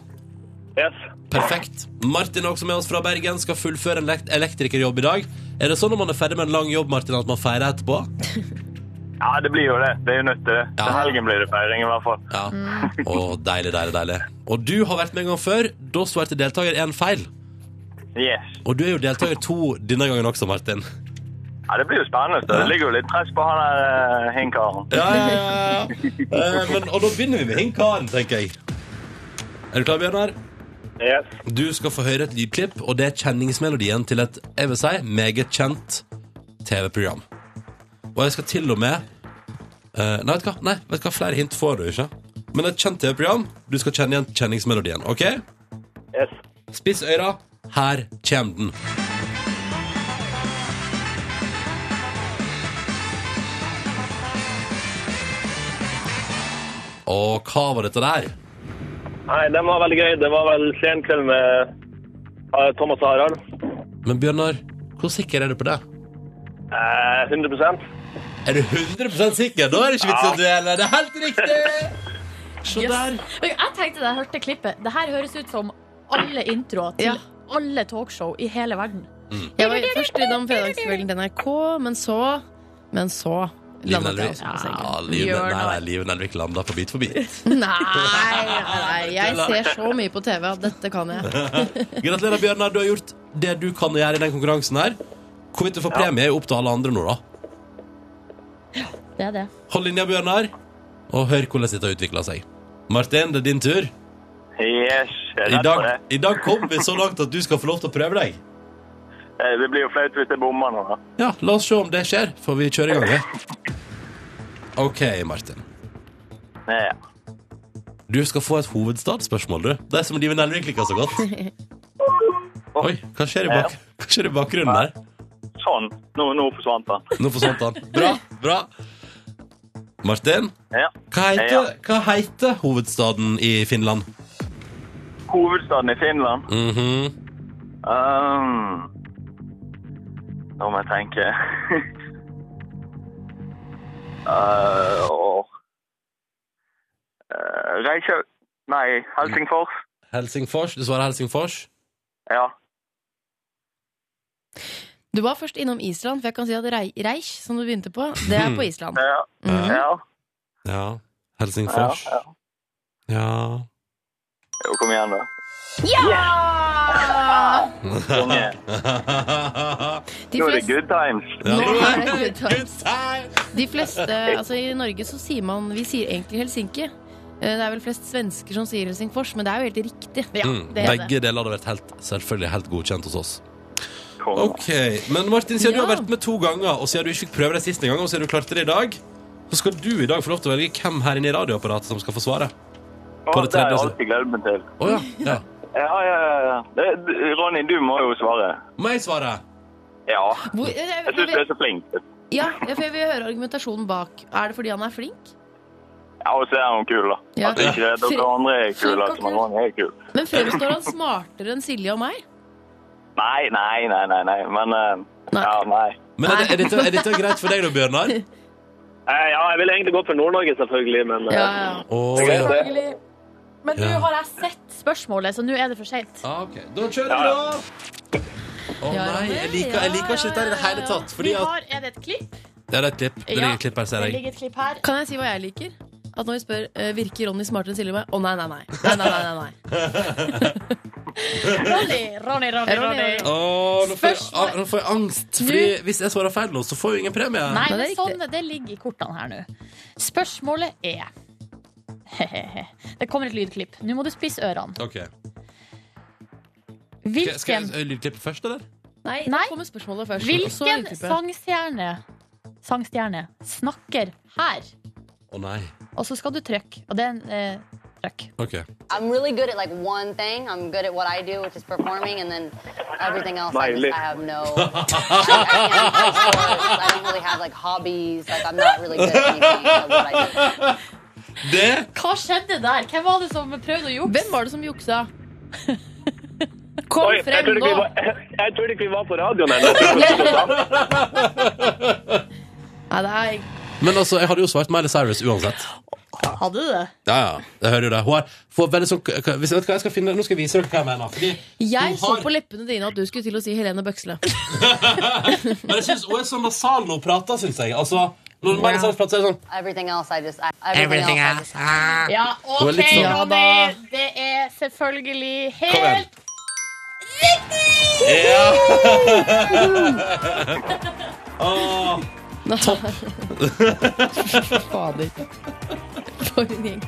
A: Yes.
B: Perfekt. Martin er også med oss fra Bergen, skal fullføre en lekt- elektrikerjobb i dag. Er det sånn når man er ferdig med en lang jobb, Martin, at man feirer etterpå?
F: Ja, det blir jo det. Det er jo nødt til det.
B: Ja.
F: Til helgen blir det feiring, i hvert fall.
B: Ja. Å, deilig, deilig, deilig. Og du har vært med en gang før. Da svarte deltaker én feil.
F: Yes.
B: Og du er jo deltaker to denne gangen også, Martin.
F: Ja, det blir jo spennende. Det ligger jo litt press på han der eh, hinkaren.
B: Ja, ja, ja, ja. Eh, men, og da begynner vi med hinkaren, tenker jeg. Er du klar, Bjørnar?
A: Yes.
B: Du skal få høre et lydklipp, og det er kjenningsmelodien til et jeg vil si, meget kjent TV-program. Og jeg skal til og med eh, Nei, vet du hva? Nei, vet du hva? Flere hint får du ikke. Men et kjent TV-program. Du skal kjenne igjen kjenningsmelodien. ok?
A: Yes.
B: Spiss øra. Her kommer den. Og hva var dette der?
A: Nei, den var veldig gøy. Det var vel senkveld med eh, Thomas og Harald.
B: Men Bjørnar, hvor sikker er du på det?
A: Eh, 100
B: Er du 100 sikker? Da er det ikke vits i å duelle. Det er helt riktig! Se der.
E: Men Jeg tenkte da jeg hørte klippet Det her høres ut som alle introer til
C: Ja.
E: alle talkshow i hele verden.
C: Jeg var først innom fredagskvelden til NRK, men så Men så
B: Liv
C: landet jeg
B: Nelvik.
C: også på sengen.
B: Ja, Liv,
E: Bjørnar.
B: nei, nei, Liv Nelvik landa på Bit for bit.
C: Nei, nei, jeg ser så mye på TV at dette kan jeg.
B: Gratulerer, Bjørnar. Du har gjort det du kan gjøre i den konkurransen her. Hvorvidt du får premie, er jo opp til alle andre nå, da.
E: Det er det.
B: Hold linja, Bjørnar, og hør hvordan dette har utvikla seg. Martin, det er din tur.
F: Yes, jeg er
B: I
F: rett på
B: dag,
F: det.
B: I dag kom vi så langt at du skal få lov til å prøve deg.
F: Eh, Det blir jo flaut hvis jeg bommer nå. da.
B: Ja, la oss se om det skjer, for vi kjører i gang. vi. OK, Martin.
F: Ja.
B: Du skal få et hovedstadsspørsmål, du. Det er som Live Nelvik liker så godt. Oi, hva skjer, i bak hva skjer i bakgrunnen der?
F: Sånn. Nå, nå forsvant han.
B: Nå forsvant han. Bra, bra. Martin,
F: Ja.
B: hva
F: Ja.
B: heter, hva heter hovedstaden i Finland?
F: Hovedstaden i Finland.
B: Mhm.
F: Um, nå må jeg tenke. [laughs] uh, og, Eh, Reykjav... Nei, Helsingfors.
B: Helsingfors. Du svarer Helsingfors.
F: Ja.
C: Du var først innom Island, for jeg kan si at Rei- Reich, som du begynte på, det er [laughs] på Island.
F: Ja.
B: Mm.
C: Mhm.
F: ja.
B: Ja. Helsingfors.
F: Ja,
B: Ja.
F: Jo, kom igjen, da. [laughs] Kom
B: ja.
F: igjen.
C: De
F: Nå er det
C: fleste,
F: good times.
B: [laughs]
C: Nå er
B: Nå
C: det good
B: Good
C: times.
B: time!
C: de fleste altså I Norge så sier man Vi sier egentlig Helsinki. Eh, Det er vel flest svensker som sier Helsingfors, men det er jo helt riktig.
B: Mm, Begge deler hadde vært helt, selvfølgelig helt godkjent hos oss.
F: Konge.
B: Ok, Men Martin, siden du har
C: Ja.
B: vært med to ganger, og siden du ikke fikk prøve det siste gang, og siden du klarte det i dag, så skal du i dag få lov til å velge hvem her inne i radioapparatet som skal få svaret.
F: Å,
B: på det
F: det har jeg
B: tredje-
F: alltid gledet meg til.
B: Å ja. ja.
F: Ja, ja, ja. ja. Det, d- Ronny, du må jo svare.
B: Må jeg svare?
F: Ja.
C: Hvor, eh, jeg-
F: Jeg syns du er så flink.
C: ja, ja, for jeg vil høre argumentasjonen bak. Er det fordi han er flink?
F: Ja, og så er hun kul, da.
C: Ja.
F: At ikke det- dere andre er kule,
C: Flink og
F: at man
C: kul.
F: Ronny er kul.
C: Men fremstår han smartere enn Silje og meg?
F: Nei, nei, nei, nei, nei. men eh,
C: Nei.
F: Ja, nei.
B: Men er, det- er, dette, er dette greit for deg da, Bjørnar?
A: Eh, ja, jeg ville egentlig gått for Nord-Norge, selvfølgelig, men eh,
C: Ja, ja.
B: Å, ja.
A: jeg vet det.
E: Selvfølgelig. Men nå
B: Ja.
E: har jeg sett spørsmålet, så nå er det for seint.
B: Ah, ok. Da kjører vi, da! Å
C: Ja,
B: nei, jeg
C: nei,
B: liker, jeg liker ikke dette i det hele tatt. Fordi
E: Vi
B: at
E: har, er det et klipp?
B: Ja, det er et klipp. Det ligger et klipp her, ser
E: det
B: jeg.
E: ligger et klipp her.
C: Kan jeg si hva jeg liker? At når vi spør eh, virker Ronny smartere enn Silje og meg, å nei, nei, nei. nei, nei, nei, nei, nei.
E: Ronny, Ronny,
C: Ronny,
E: Ronny. Ronny.
B: Å, nå får jeg, ah, nå får jeg angst. Fordi hvis jeg svarer feil nå, så får jeg jo ingen premie.
C: Nei, det
E: Nei,
C: er
E: men
C: riktig.
E: sånn, det ligger i kortene her nå. Spørsmålet er [laughs] Det kommer et lydklipp. Nå må du spisse ørene.
B: Ok. Skal, skal
E: Hvilken,
B: jeg lydklippet først, eller?
C: Nei,
E: Nei.
C: nå kommer spørsmålet først. og så
E: hvilken
C: lydklippet.
E: sangstjerne Sangstjerne snakker her?
B: Å nei.
E: Og så skal du trykke. Og det er en eh, trykk.
B: Ok.
G: I'm really good at like one thing. I'm good at what I do, which is performing, and then everything else. I, just,
A: Miley.
G: I have no. I, I, I don't really have like hobbies. Like I'm not really good at anything of what I do.
B: Det
E: Hva skjedde der? Hvem var det som prøvde å jukse?
C: Hvem var det som juksa? Kom
A: Oi, jeg
C: frem
A: trodde, ikke
C: nå!
A: vi var, [laughs] jeg trodde ikke vi var på radioen ennå. Jeg trodde vi var på radio.
C: Nei, det er
B: Men altså, jeg hadde jo svart Miley Cyrus uansett.
E: Hadde du det?
B: Ja, ja. Jeg hører jo det. Hun har får veldig sånn hvis, Vet du hva jeg skal finne? Nå skal jeg vise dere hva jeg mener. Fordi
C: Jeg så
B: har-
C: på leppene dine at du skulle til å si Helene Bøksle.
B: [laughs] Men jeg synes hun er sånn nasal når hun prater, syns jeg. Altså, når Miley Cyrus prater, så er det sånn
G: Everything else, I just. I, everything, else. I just,
E: Ja,
B: Hun er
E: OK,
B: litt sånn- Ja
E: Ronny.
C: da.
E: Det er selvfølgelig
B: Kom igjen.
E: helt
B: Ja!
C: Fader. For en gjeng.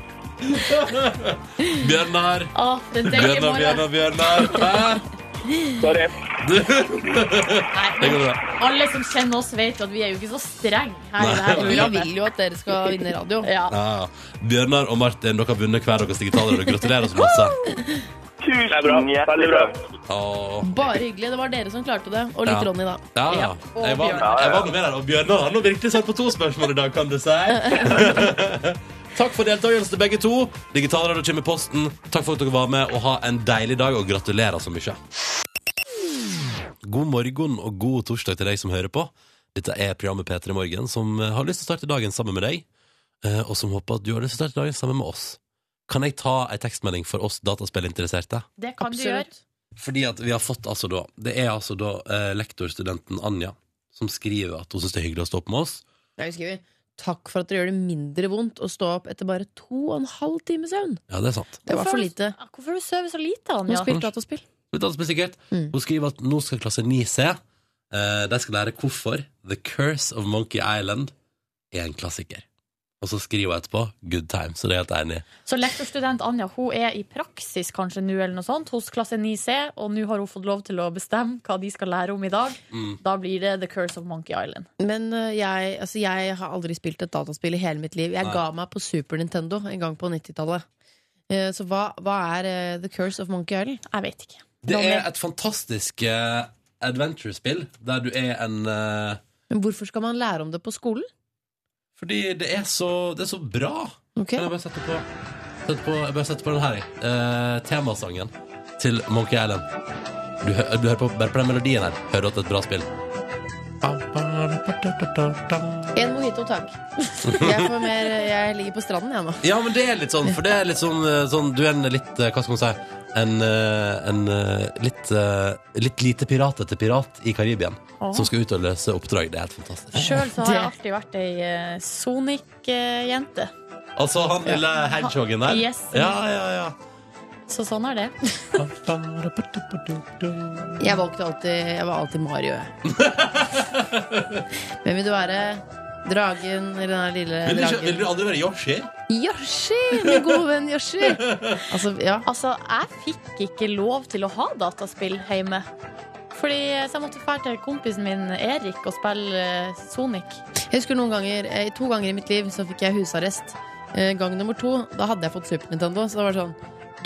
B: Bjørnar.
E: Å, den deilige
B: Bjørnar,
E: morgenen.
B: Bjørnar, [laughs] Bjørnar. Hæ?
A: Sorry.
B: Det går bra.
E: Alle som kjenner oss, vet at vi er jo ikke så strenge her i det her
C: Vi
E: programmet.
C: vil jo at dere skal vinne radio.
E: Ja.
B: Ja, ja. Bjørnar og Martin, dere har vunnet hver deres digitale. og Gratulerer så masse.
A: Det er bra.
F: Tusen
A: Veldig bra.
F: hjertelig.
B: Åh.
C: Bare hyggelig. Det var dere som klarte det. Og litt
B: Ja.
C: Ronny, da.
B: Ja, ja.
C: og
B: Jeg var,
C: Bjørnar.
B: jeg var med der, og Bjørnar har nå virkelig svart på to spørsmål i dag, kan du si.
C: [laughs]
B: Takk for deltakelsen til begge to. Digitalradio kommer i posten. Takk for at dere var med, og ha en deilig dag, og gratulerer så mye. God morgen og god torsdag til deg som hører på. Dette er programmet P3 Morgen, som eh, har lyst til å starte dagen sammen med deg, eh, og som håper at du har lyst til å starte dagen sammen med oss. Kan jeg ta ei tekstmelding for oss dataspillinteresserte?
E: Det kan
C: Absolutt.
B: Fordi at vi har fått altså da Det er altså da eh, lektorstudenten Anja Som skriver at hun synes det er hyggelig å stå opp med oss
C: Jeg husker vi. Takk for at dere gjør det mindre vondt å stå opp etter bare to og en halv time søvn.
B: Ja, det er sant
C: Det var
E: Hvorfor-
C: for lite.
E: du gjøre. Hvorfor du sover så lite,
C: Hun
E: Anja?
C: spilte dataspill.
B: Litt annet spesielt.
C: Mm.
B: Hun skriver at nå skal klasse 9C eh, De skal lære hvorfor The Curse of Monkey Island Er en klassiker Og så skriver hun etterpå Good time, så det er jeg helt enig i.
E: Så lektorstudent Anja hun er i praksis kanskje nå eller noe sånt hos klasse 9C, og nå har hun fått lov til å bestemme hva de skal lære om i dag.
B: Mm.
E: Da blir det The Curse of Monkey Island.
C: Men øh, jeg, altså, jeg har aldri spilt et dataspill i hele mitt liv. Jeg
B: Nei.
C: ga meg på Super Nintendo en gang på 90-tallet. Eh, Så hva, hva er eh, The Curse of Monkey Island?
E: Jeg vet ikke.
B: Det er et fantastisk eh, adventure-spill Der du er en... Eh,
C: Men hvorfor skal man lære om det på skolen?
B: fordi det er så, det er så bra
C: Ok?
B: Kan jeg bare sette på, sette på, jeg bare setter på den her, jeg. Eh, temasangen til Monkey Island. Du, hø du hører på, bare på den melodien her. Hører du at det er et bra spill?
C: En mojito, takk. [laughs] Jeg, får mer, eh, jeg ligger på stranden, jeg nå.
B: Ja, men det er litt sånn, for det er litt sånn, eh, sånn Du er en litt, eh, hva skal man si En, eh, en eh, litt, eh, litt lite pirat etter pirat i Karibien Som skal ut og løse oppdrag. Det er helt fantastisk.
E: Sjøl så har jeg alltid vært ei eh, Sonic-jente.
B: [laughs] Altså han lille hedgehoggen der.
E: Yes.
B: Ja, ja, ja.
C: [laughs]
E: Så sånn er det.
C: Jeg valgte alltid Jeg var
B: [laughs]
C: alltid Mario, jeg. Hvem vil du være? Dragen eller den der lille
B: Vil du, ikke, vil
C: dragen?
B: du aldri være Yoshi?
C: Yoshi! Min gode venn Yoshi. Altså, ja.
E: Altså, jeg fikk ikke lov til å ha dataspill hjemme. Fordi så jeg måtte dra til kompisen min Erik og spille eh, Sonic.
C: Jeg husker noen ganger, eh, To ganger i mitt liv så fikk jeg husarrest. Eh, Gang nummer to, da hadde jeg fått Super Nintendo. Så det var sånn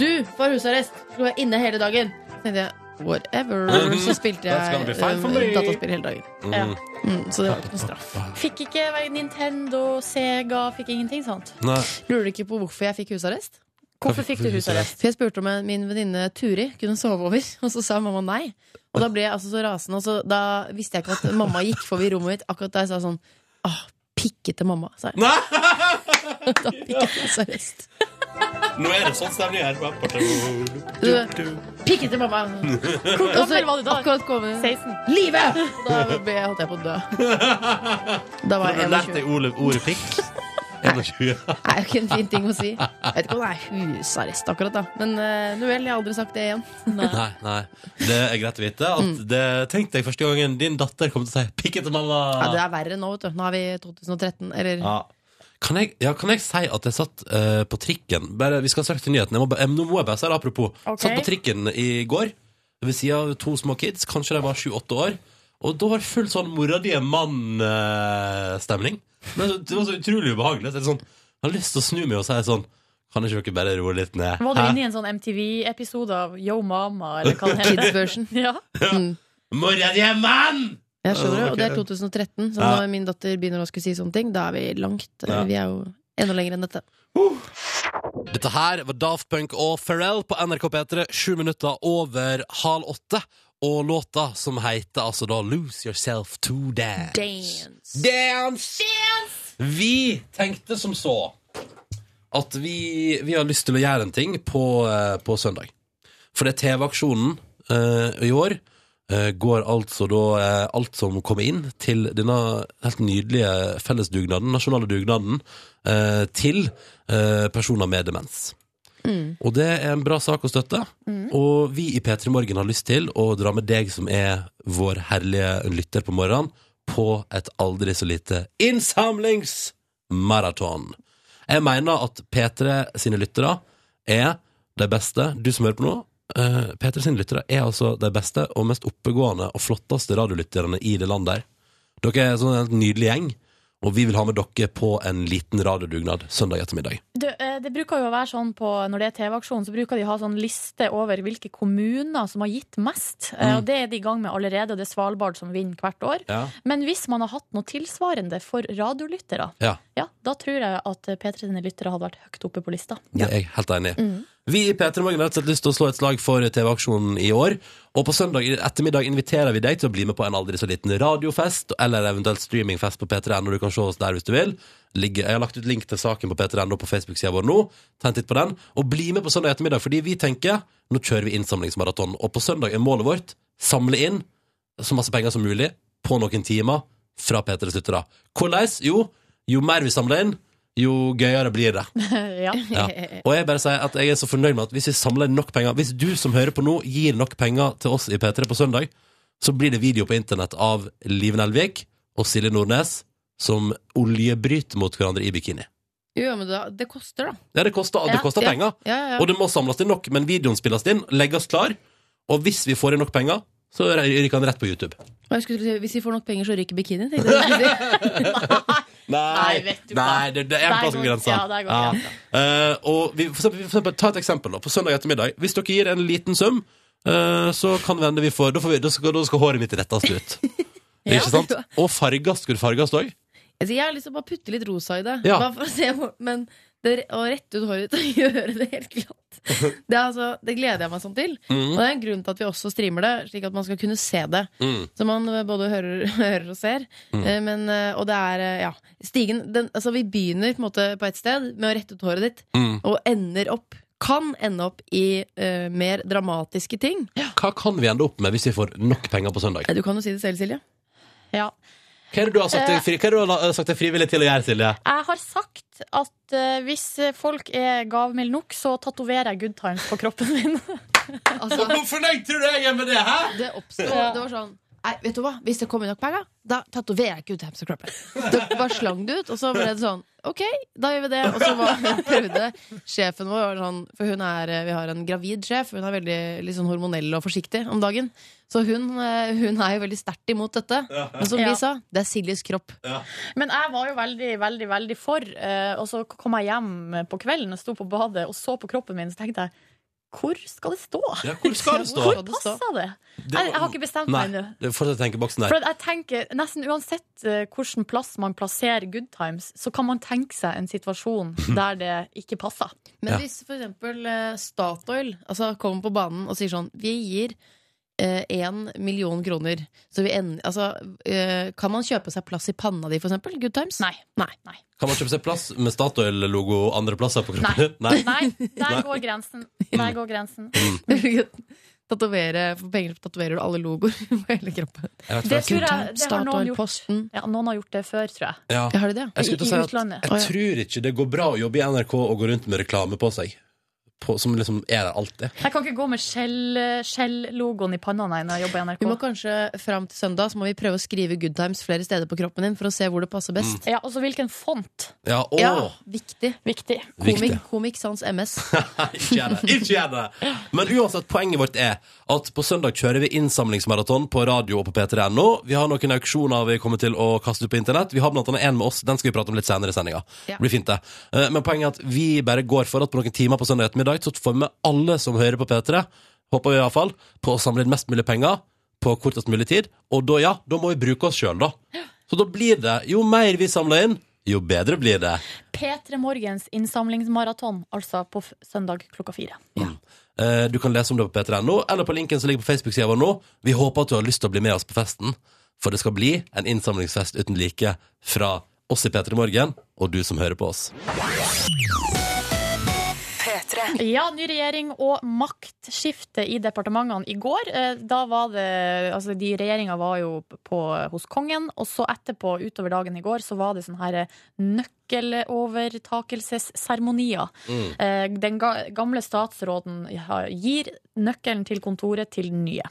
C: Du får husarrest! Skal være inne hele dagen! Så tenkte jeg whatever.
B: Mm.
C: Så spilte
B: That's gonna
C: jeg
B: be fine for
C: eh,
B: me.
C: dataspill hele dagen.
E: Ja.
C: Mm, så det var ikke noe straff.
E: Fikk ikke være Nintendo, Sega, fikk ingenting sånt.
B: Nei.
C: Lurer du ikke på hvorfor jeg fikk husarrest?
E: Hvorfor fikk du husarrest?
C: For jeg spurte om jeg- min venninne Turi kunne sove over, [laughs] og så sa mamma nei. Og da ble jeg altså så rasende, og så da visste jeg ikke at mamma gikk forbi rommet mitt akkurat da jeg sa sånn Åh, pikkete mamma, sa jeg.
B: Nei!
C: [laughs] Da fikk jeg husarrest.
B: Nå er det sånn stemning her.
C: Du, Pikkete mamma!
E: Hvor
C: Og så
E: gammel var du da?
C: akkurat kommet
E: 16.
C: Live! Da ble, holdt jeg på å dø.
B: [laughs]
C: Da var
B: Har
C: jeg
B: du lært
C: 21.
B: deg ordet, ordet pikk? 21.
C: Det er jo ikke en fin ting å
B: [laughs]
C: si. Jeg vet ikke om det er husarrest akkurat, da. Men uh, nu vel, jeg har aldri sagt det igjen.
B: Nei, nei. Det er greit å vite. At det tenkte jeg første gangen din datter kom til å si 'pikkete mamma'.
C: Ja, det er verre nå, vet du. Nå er vi i 2013, eller
B: Ja. Kan jeg, ja, kan jeg si at jeg satt eh, på trikken bare, Vi skal straks til nyheten. Jeg må, ba- eh, nå må jeg bare si det, apropos.
E: Ok.
B: Satt på trikken i går ved sida av to små kids. Kanskje de var sju-åtte år. Og da var det full sånn mora di er mann-stemning. Men så- det var så utrolig ubehagelig. Så jeg, er sånn, jeg har lyst til å snu meg og si sånn Kan ikke dere bare roe litt ned?
E: Var du
B: Hæ?
E: inne i en sånn MTV-episode av Yo Mama, eller hva det
C: Kids
E: heter?
C: version.
E: [laughs] Ja.
B: Mora di er mann!
C: Jeg skjønner det,
B: Ja, ok.
C: og det er 2013, så
B: Ja.
C: når min datter begynner å skulle si sånne ting, da er vi langt. eh,
B: Ja.
C: Vi er jo enda lenger enn dette.
B: Dette her var Daft Punk og Pharrell på NRK P3, sju minutter over halv åtte. Og låta som heter altså da Lose Yourself to Dance. Dance! Dance! Vi tenkte som så at vi, vi har lyst til å gjøre en ting på, eh, på søndag. For det er TV-aksjonen eh, i år. eh, går altså da eh, alt som kommer inn til denne helt nydelige fellesdugnaden, nasjonale dugnaden, eh, til eh, personer med demens. Og det er en bra sak å støtte. Og vi i P3 Morgen har lyst til å dra med deg som er vår herlige lytter på morgenen, på et aldri så lite innsamlingsmaraton. Jeg mener at P3 sine lyttere er de beste. Du som hører på nå, eh, P3 sine lyttere er altså de beste og mest oppegående og flotteste radiolytterne i det landet der. Dere er sånn en nydelig gjeng, og vi vil ha med dere på en liten radiodugnad søndag ettermiddag.
E: Du, eh, det bruker jo å være sånn på, Når det er TV-aksjon, så bruker de ha sånn liste over hvilke kommuner som har gitt mest. Eh,
B: Mm.
E: Og Det er de i gang med allerede, og det er Svalbard som vinner hvert år. Men hvis man har hatt noe tilsvarende for radiolyttere,
B: Ja.
E: da tror jeg at P3 sine lyttere hadde vært høyt oppe på lista.
B: Det er jeg helt enig i. Vi i P3 Morgen har rett og slett lyst til å slå et slag for TV-aksjonen i år. Og på søndag i ettermiddag inviterer vi deg til å bli med på en aldri så liten radiofest, eller eventuelt streamingfest på P3.no. Du kan se oss der hvis du vil. Ligger, jeg har lagt ut link til saken på P3.no på Facebook-sida vår nå. Ta en titt på den. Og bli med på søndag ettermiddag, fordi vi tenker nå kjører vi innsamlingsmaraton. Og på søndag er målet vårt samle inn så masse penger som mulig på noen timer fra P3s lyttere. Hvordan? Jo, jo mer vi samler inn, jo gøyere blir det.
E: [laughs] ja.
B: Ja. Og jeg bare sier at jeg er så fornøyd med at hvis vi samler nok penger Hvis du som hører på nå gir nok penger til oss i P3 på søndag, så blir det video på internett av Liven Elvik og Silje Nordnes som oljebryter mot hverandre i bikini.
C: [laughs] Jo, men da, det koster, da.
B: Ja, det koster, det
E: Ja,
B: koster
C: ja.
B: penger,
C: Ja, ja,
B: og
C: ja.
B: det må samles inn nok, men videoen spilles inn, legges klar, og hvis vi får inn nok penger, så ryker den rett på YouTube.
C: Og jeg skulle til å si, hvis vi får nok penger, så ryker bikinien. tenkte jeg.
B: [laughs]
C: Jeg skulle si.
B: Nei,
E: Nei, vet du
B: nei det, det er en
E: Der
B: plass om
E: går-
B: grensa.
E: ja, der går grensa.
B: Eh, og vi, for eksempel, for eksempel, ta et eksempel da, på søndag ettermiddag. Hvis dere gir en liten sum, eh, så kan det hende vi får Da, får vi, da, skal, da skal håret mitt rettes ut.
E: [laughs]
B: Ikke sant? Og farges. Skal du farges òg?
C: Jeg sier, Jeg har lyst til å bare putte litt rosa i det.
B: Ja.
C: Bare for å se hvor, men det, å rette ut håret ditt og [laughs] gjøre det helt glatt, det, er altså, det gleder jeg meg sånn til. Og det er en grunn til at vi også streamer det, slik at man skal kunne se det.
B: Mm.
C: Som man eh, både hører, [laughs] hører og ser. Eh, Men, eh, og det er eh, ja, stigen den, altså Vi begynner på, en måte på et sted med å rette ut håret ditt,
B: Mm.
C: og ender opp kan ende opp i eh, mer dramatiske ting.
B: Hva kan vi ende opp med hvis vi får nok penger på søndag?
C: Eh, Du kan jo si det selv, Silje.
E: ja.
B: Hva er det du har
E: Eh.
B: sagt deg, fri- hva er det du har sagt deg frivillig til å gjøre, Silje?
E: Jeg har sagt at eh, hvis folk er gavmilde nok, så tatoverer jeg good times på kroppen min.
C: Altså,
B: Hvor fornøyd tror du jeg er med det? Hæ?
C: det oppstår.
E: Ja.
C: Det var sånn Nei, vet du hva? Hvis det kommer nok penger, da tatoverer jeg ikke ut Hamster Crapper. Da bare slang det ut, og så ble det sånn OK, da gjør vi det. Og så var, [laughs] prøvde sjefen vår var sånn For hun er, vi har en gravid sjef. Hun er veldig litt sånn hormonell og forsiktig om dagen. Så hun, eh, hun er jo veldig sterkt imot dette. Men som
E: Ja.
C: vi sa, det er Siljes kropp.
E: Men jeg var jo veldig, veldig, veldig for. eh, Og så kom jeg hjem på kvelden og sto på badet og så på kroppen min, så tenkte jeg hvor skal det stå?
B: Ja, hvor skal det stå?
E: Hvor passer det?
B: var-
E: Jeg, jeg har ikke bestemt
B: Nei,
E: meg ennå.
B: det fortsetter tenkeboksen
E: For
B: der.
E: at jeg tenker, nesten uansett eh, hvilken plass man plasserer good times, så kan man tenke seg en situasjon
B: [laughs]
E: der det ikke passer.
C: Men
B: Ja.
C: hvis for eksempel eh, Statoil altså, kommer på banen og sier sånn Vi gir én million kroner. Så vi end, altså, eh, kan man kjøpe seg plass i panna di, for eksempel? Good times?
E: Nei.
C: Nei.
B: Kan man kjøpe seg plass med Statoil-logo andreplasser på kroppen? din? Nei.
E: Nei, der
B: Nei. Mm.
E: går
B: [laughs]
E: grensen. Der går grensen.
C: [laughs] Tatovere, for penger tatoverer du alle logoer [laughs] på hele kroppen.
B: Jeg vet
E: Det
B: faktisk-
E: tror jeg det har noen gjort.
C: Statoil-posten.
E: Ja, noen har gjort det før, tror jeg.
B: Ja.
C: Har de det?
B: Jeg skulle
E: I,
B: til å
E: i
B: si at
E: utlandet.
C: Å,
B: jeg
C: ja.
B: tror ikke det går bra å jobbe i NRK og gå rundt med reklame på seg. På, som liksom er der alltid.
E: Jeg kan ikke gå med Shell- Shell-logoen i panna nei, når jeg jobber i
C: Vi må
E: NRK.
C: kanskje fram til søndag Så må vi prøve å skrive good times flere steder på kroppen din for å se hvor det passer best.
B: Mm.
E: Ja, og så hvilken font.
B: Ja, å,
C: Ja, viktig.
E: Viktig.
B: viktig.
C: Komik, komik sans
B: [laughs]
C: MS.
B: ikke gjør det. Ikke gjør det. Men uansett, poenget vårt er at på søndag kjører vi innsamlingsmaraton på radio og på p3.no. Vi har noen auksjoner vi kommer til å kaste ut på internett. Vi har blant annet en med oss, den skal vi prate om litt senere i sendinga.
C: Ja.
B: Det blir fint, det. Eh, Men poenget er at vi bare går for at på noen timer på søndag ettermiddag så får vi med alle som hører på P3, håper vi iallfall, på å samle inn mest mulig penger på kortest mulig tid. Og da, ja, da må vi bruke oss sjøl, da. Så da blir det Jo mer vi samler inn, jo bedre blir det.
E: P3 Morgens innsamlingsmaraton, altså på f søndag klokka fire.
B: Eh, Du kan lese om det på p3.no, eller på linken som ligger på Facebook-sida vår nå. Vi håper at du har lyst til å bli med oss på festen, for det skal bli en innsamlingsfest uten like fra oss i P3 Morgen og du som hører på oss.
D: P3.
E: [laughs] Ja, ny regjering og maktskifte i departementene i går. Eh, Da var det Altså, de regjeringa var jo på, hos kongen, og så etterpå, utover dagen i går, så var det sånne her eh, nøkkelovertakelsesseremonier. Eh, Den ga- gamle statsråden har- gir nøkkelen til kontoret til den nye.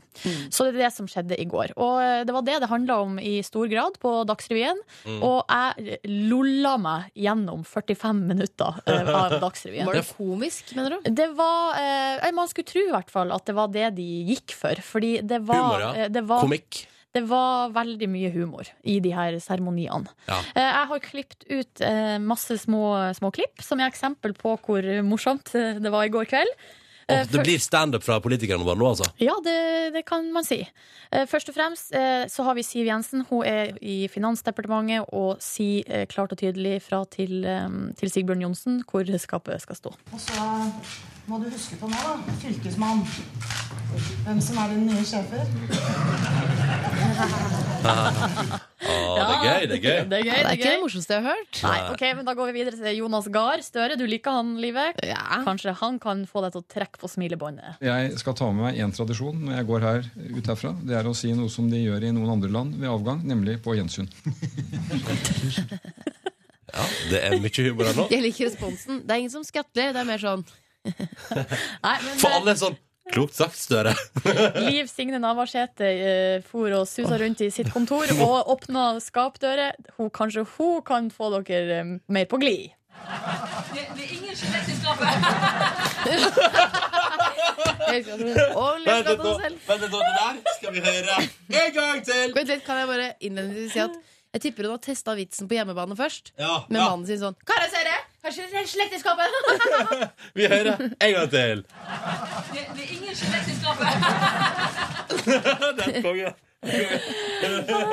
E: Så det er det som skjedde i går. Og eh, det var det det handla om i stor grad på Dagsrevyen. Og jeg lolla meg gjennom 45 minutter eh, av Dagsrevyen.
C: Var det komisk, mener du?
E: Det var eh, Man skulle tro i hvert fall at det var det de gikk for. Fordi det var,
B: Humor, ja.
E: eh, det var,
B: Komikk.
E: det var veldig mye humor i de her seremoniene.
B: Ja.
E: Eh, jeg har klippet ut eh, masse små, små klipp som er eksempel på hvor morsomt eh, det var i går kveld.
B: Åh,
E: Eh,
B: det
E: for-
B: blir standup fra politikerne våre nå, altså.
E: Ja, det, det kan man si. Eh, Først og fremst eh, så har vi Siv Jensen. Hun er i Finansdepartementet og sier eh, klart og tydelig fra til, eh, til Sigbjørn Johnsen hvor skapet skal stå.
H: Og så må du huske på nå, da, fylkesmann, hvem som er dine nye sjefer.
B: Åh, det er gøy, det er gøy.
E: Det er gøy,
C: Det er
E: det er
C: ikke det
E: gøy.
C: morsomste jeg har hørt.
E: Nei, ok, men Da går vi videre til Jonas Gahr Støre. Du liker han, Livet.
C: Ja.
E: Kanskje han kan få deg til å trekke på smilebåndet.
I: Jeg skal ta med meg én tradisjon når jeg går her ut herfra. Det er å si noe som de gjør i noen andre land ved avgang, nemlig på gjensyn.
B: Ja, det er mye humor her nå.
C: Jeg liker responsen. Det er ingen som skattler. Det er mer sånn
E: Nei, men
B: For alle er sånn Klokt sagt, Støre.
E: eh, Liv Signe Navarsete eh, for og susa rundt i sitt kontor og åpna skapdører. Hun, kanskje hun kan få dere eh, mer på glid.
C: helt klart. Og litt
B: Vent
C: glad
B: litt nå,
C: av seg selv.
B: vent litt nå, det der skal vi høre en gang til!
C: Vent litt, kan jeg bare innledningsvis si at jeg tipper hun har testa vitsen på hjemmebane først.
B: Ja,
C: Med
B: ja,
C: mannen sin sånn Kara Søre, kanskje det er slekt i skapet?
B: vi hører en gang til. [laughs] Det er konge.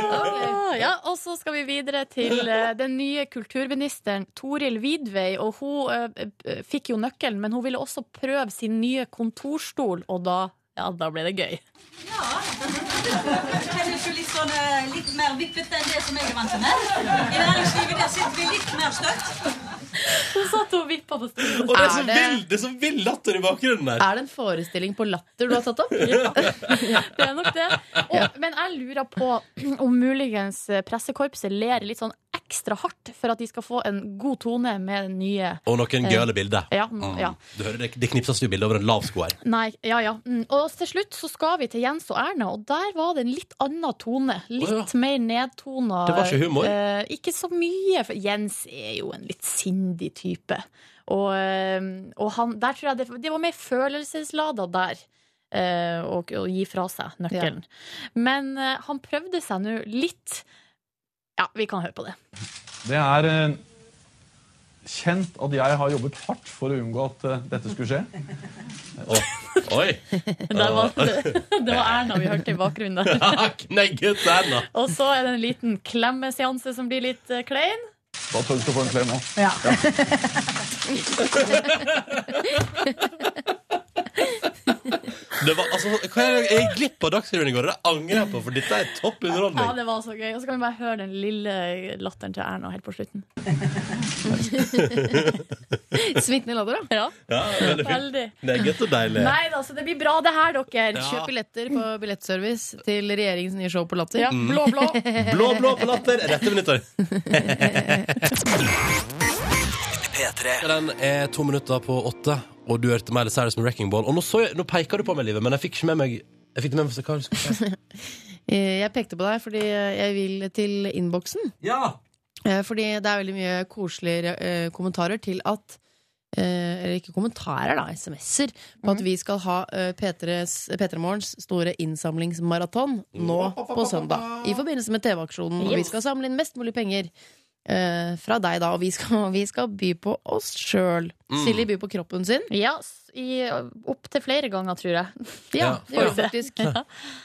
E: Ah, Ja, og så skal vi videre til eh, den nye kulturministeren Toril Vidvei. Og hun eh, eh, fikk jo nøkkelen, men hun ville også prøve sin nye kontorstol, og da, ja, da ble det [laughs] gøy.
H: Den er jo litt, sånn, eh, litt mer vippete enn det som jeg er vant med. I næringslivet der sitter vi litt mer støtt.
E: Hun satt og vippa på stolen.
B: Og det er så
C: Er det-
B: vill, det er så vill latter i bakgrunnen der.
C: Er det en forestilling på latter du har tatt
E: [laughs]
C: opp?
E: Det er nok det. Og, men jeg lurer på om muligens pressekorpset ler litt sånn ekstra hardt for at de skal få en god tone med den nye
B: Og noen gøyale bilder.
E: ja,
B: Mm.
E: ja.
B: Du hører det, det knipses jo bilder over en lav sko her.
E: Nei, ja, ja. Mm. Og til slutt så skal vi til Jens og Erna, og der var det en litt annen tone. Litt
B: Å,
E: mer nedtona.
B: Det var ikke humor?
E: Eh, ikke så mye, for Jens er jo en litt sindig type. Og, eh, og han, der tror jeg det, det var mer følelseslada der. eh, Å å gi fra seg nøkkelen. Men eh, han prøvde seg nå litt. Ja, vi kan høre på det.
J: Det er eh, kjent at jeg har jobbet hardt for å unngå at eh, dette skulle skje.
B: Oi!
E: Der var, [laughs] det var Erna vi hørte i bakgrunnen der.
B: Knegget Erna.
E: [laughs] Og så er det en liten klemmeseanse som blir litt eh, klein.
J: Da tør du skal få en klem òg.
E: Ja.
B: Det var, altså, hva er det, jeg gikk glipp av Dagsrevyen i går, og det angrer jeg på, for dette er topp
E: ja,
B: underholdning.
E: det var så gøy. Og så kan vi bare høre den lille latteren til Erna helt på slutten.
C: Smittende lader, da.
E: Ja,
B: Ja, veldig fint.
E: veldig.
B: Knegget og deilig.
E: Nei da, så det blir bra det her, dere.
B: Ja.
E: Kjøp
C: Kjøp billetter på Billettservice til regjeringens nye show på Latter.
E: ja,
B: Mm.
E: blå, blå. [laughs]
B: Blå, blå på latter. Rett over nyttår. Den er to minutter på åtte, og du hørte Miley Cyrus med Wrecking Ball. Og nå, så jeg, nå peker du på meg, Livet, men jeg fikk ikke med meg jeg fikk det med meg, så hva er det du skulle si?
C: Eh, Jeg pekte på deg fordi eh, jeg vil til innboksen. Eh, Fordi det er veldig mye koselige eh, kommentarer til at eh, Eller ikke kommentarer, da, SMS-er. På at vi skal ha eh, P3s P3 Morgens store innsamlingsmaraton nå på søndag. I forbindelse med TV-aksjonen. Og vi skal samle inn mest mulig penger eh, fra deg, da. Og vi skal, [laughs] vi skal by på oss sjøl. Silje byr på kroppen sin.
E: Ja, s- i, opp til flere ganger, tror jeg.
B: [laughs] Ja,
C: Ja, det gjør
E: oi.
C: du faktisk.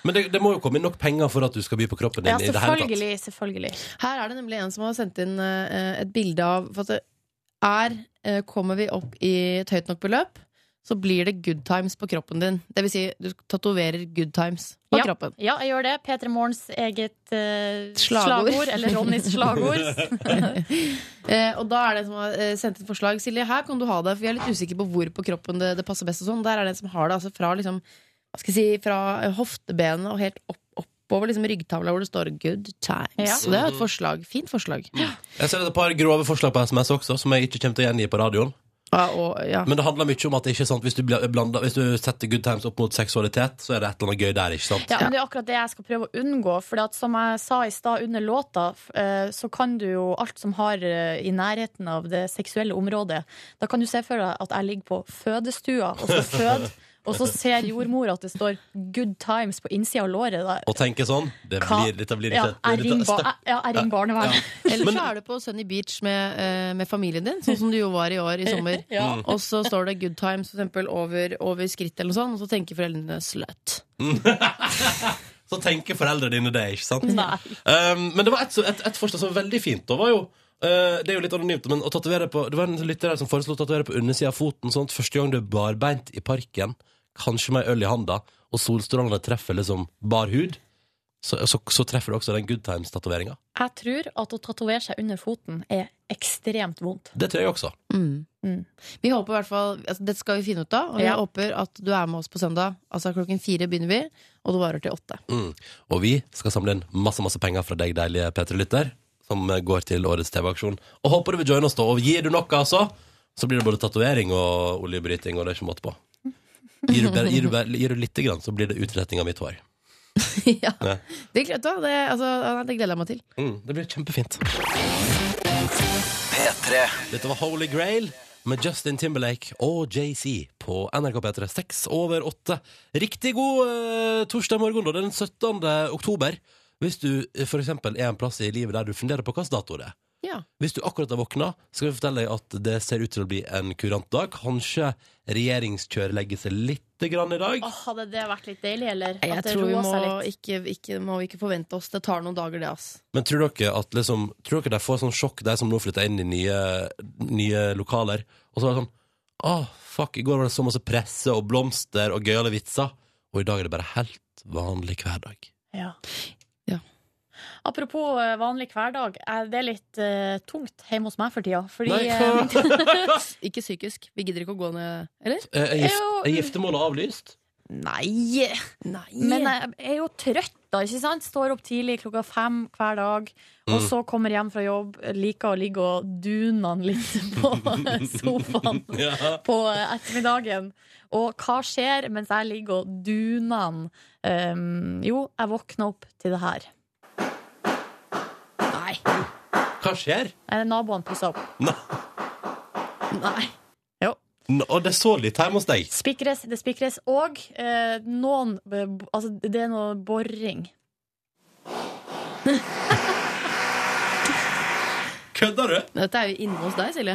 B: Men det, det må jo komme inn nok penger for at du skal by på kroppen din.
E: Ja,
B: i det hele tatt.
E: selvfølgelig. selvfølgelig.
C: Her er det nemlig en som har sendt inn eh, et bilde av For at det er eh, Kommer vi opp i et høyt nok beløp, så blir det good times på kroppen din. Det vil si, du tatoverer good times på kroppen.
E: Ja, jeg gjør det. P3 Morgens eget eh,
C: Slagord.
E: slagord. Eller Ronnys slagord.
B: [laughs]
C: Eh, og da er det en som har eh, sendt et forslag. Silje, her kan du ha det, for vi er litt usikre på hvor på kroppen det, det passer best. og sånn Der er det en som har det altså fra, liksom, hva skal jeg si, fra eh, hoftebenet og helt opp, oppover liksom, ryggtavla, hvor det står 'good times'.
E: Ja.
C: Så det er et forslag. Fint forslag.
B: Jeg ser et par grove forslag på SMS også, som jeg ikke kommer til å gjengi på radioen.
C: Ja, og, ja.
B: Men det handler mye om at det ikke er sant hvis du, bl- blander, hvis du setter good times opp mot seksualitet, så er det et eller annet gøy der, ikke sant?
E: Ja, men Det er akkurat det jeg skal prøve å unngå. For at som jeg sa i stad under låta, f- eh, så kan du jo alt som har eh, i nærheten av det seksuelle området Da kan du se for deg at jeg ligger på fødestua og skal
B: [laughs]
E: føde, og så ser jordmora at det står 'good times' på innsida av låret. Da.
B: Og tenke sånn det
E: Hva-
B: blir, Dette blir
E: ja,
B: ikke
E: jeg ringer
B: dette-
E: ba- jeg- ja, jeg ringer barnevernet.
C: Eller
B: Men-
C: så er du på Sunny Beach med, eh, med familien din, sånn som du jo var i år i sommer.
E: [laughs] Ja.
C: Og så står det 'good times' for eksempel, over, over skrittet, eller noe sånt, og så tenker foreldrene 'slut'.
B: Så tenker foreldrene dine det, ikke sant?
E: Nei.
B: Um, men det var et, så- et, et forslag som var veldig fint. Da var jo uh, det er jo litt anonymt, men å tatovere på Det var en lytter her som foreslo å tatovere på undersida av foten. Sånn at første gang du er barbeint i parken, kanskje med ei øl i handa, og solstrålene treffer liksom bar hud, så, så, så treffer du også den good times-tatoveringa.
E: Jeg tror at å tatovere seg under foten er ekstremt vondt.
B: Det tror jeg også.
E: Mm.
C: Vi håper i hvert fall, altså, Dette skal vi finne ut av, og jeg
E: Ja.
C: håper at du er med oss på søndag. Altså Klokken fire begynner vi, og det varer til åtte.
B: Mm. Og vi skal samle inn masse masse penger fra deg, deilige P3-lytter, som går til årets TV-aksjon. Og håper du vil joine oss, da. Og gir du noe, altså, så blir det både tatovering og oljebryting, og det er ikke måte på. Gir du, bare, gir du, bare, gir du lite grann, så blir det utretting av mitt hår.
E: Mm.
C: [laughs] ja.
B: Ja.
C: det, gleder- vet du hva, det, altså, nei, det gleder jeg meg til.
B: Mm, det blir kjempefint. Dette var Holy Grail med Justin Timberlake og JC på NRK P3. Seks over åtte. Riktig god eh, torsdag morgen, da. Det er Den 17. oktober. Hvis du eh, for eksempel er en plass i livet der du funderer på hvilken dato det er.
C: Ja.
B: Hvis du akkurat har våkna, skal vi fortelle deg at det ser ut til å bli en kurant dag. Kanskje regjeringskjøret legger seg litt grann i dag.
E: Åh, hadde det vært litt deilig, eller?
C: Jeg
E: At det
C: tror vi
E: roa
C: må
E: seg litt?
C: ikke, ikke, må ikke forvente oss. Det tar noen dager, det. ass
B: Men tror dere at liksom, tror dere de får sånn sjokk, de som nå flytter inn i nye, nye lokaler? Og så er det sånn Å, fuck, i går var det så masse presse og blomster og gøyale vitser, og i dag er det bare helt vanlig hverdag.
E: Ja.
C: Ja.
E: Apropos eh, vanlig hverdag, eh, det er litt eh, tungt hjemme hos meg for tida. Fordi
B: Nei, [laughs]
E: eh,
B: hva?
C: Ikke psykisk. Vi gidder ikke å gå ned Eller?
B: Eh, Er gift,
E: Jo.
B: er giftermålet avlyst?
E: Nei. Men jeg er jo trøtt, da. ikke sant? Står opp tidlig klokka fem hver dag. Og
B: Mm.
E: så kommer hjem fra jobb, liker å ligge og dune han litt [laughs] på sofaen
B: [laughs] Ja.
E: på ettermiddagen. Og hva skjer mens jeg ligger og duner han? Um, jo, jeg våkner opp til det her. Nei.
B: Hva skjer?
E: Nei, Naboene Eh, pusser opp.
B: Nei.
E: Nei.
B: Nå, Og det er så litt hjemme hos deg.
E: Spikres, det spikres. Og eh, noen eh, b- Altså, det er noe boring.
B: Kødder du?
C: Dette er jo inne hos deg, Silje.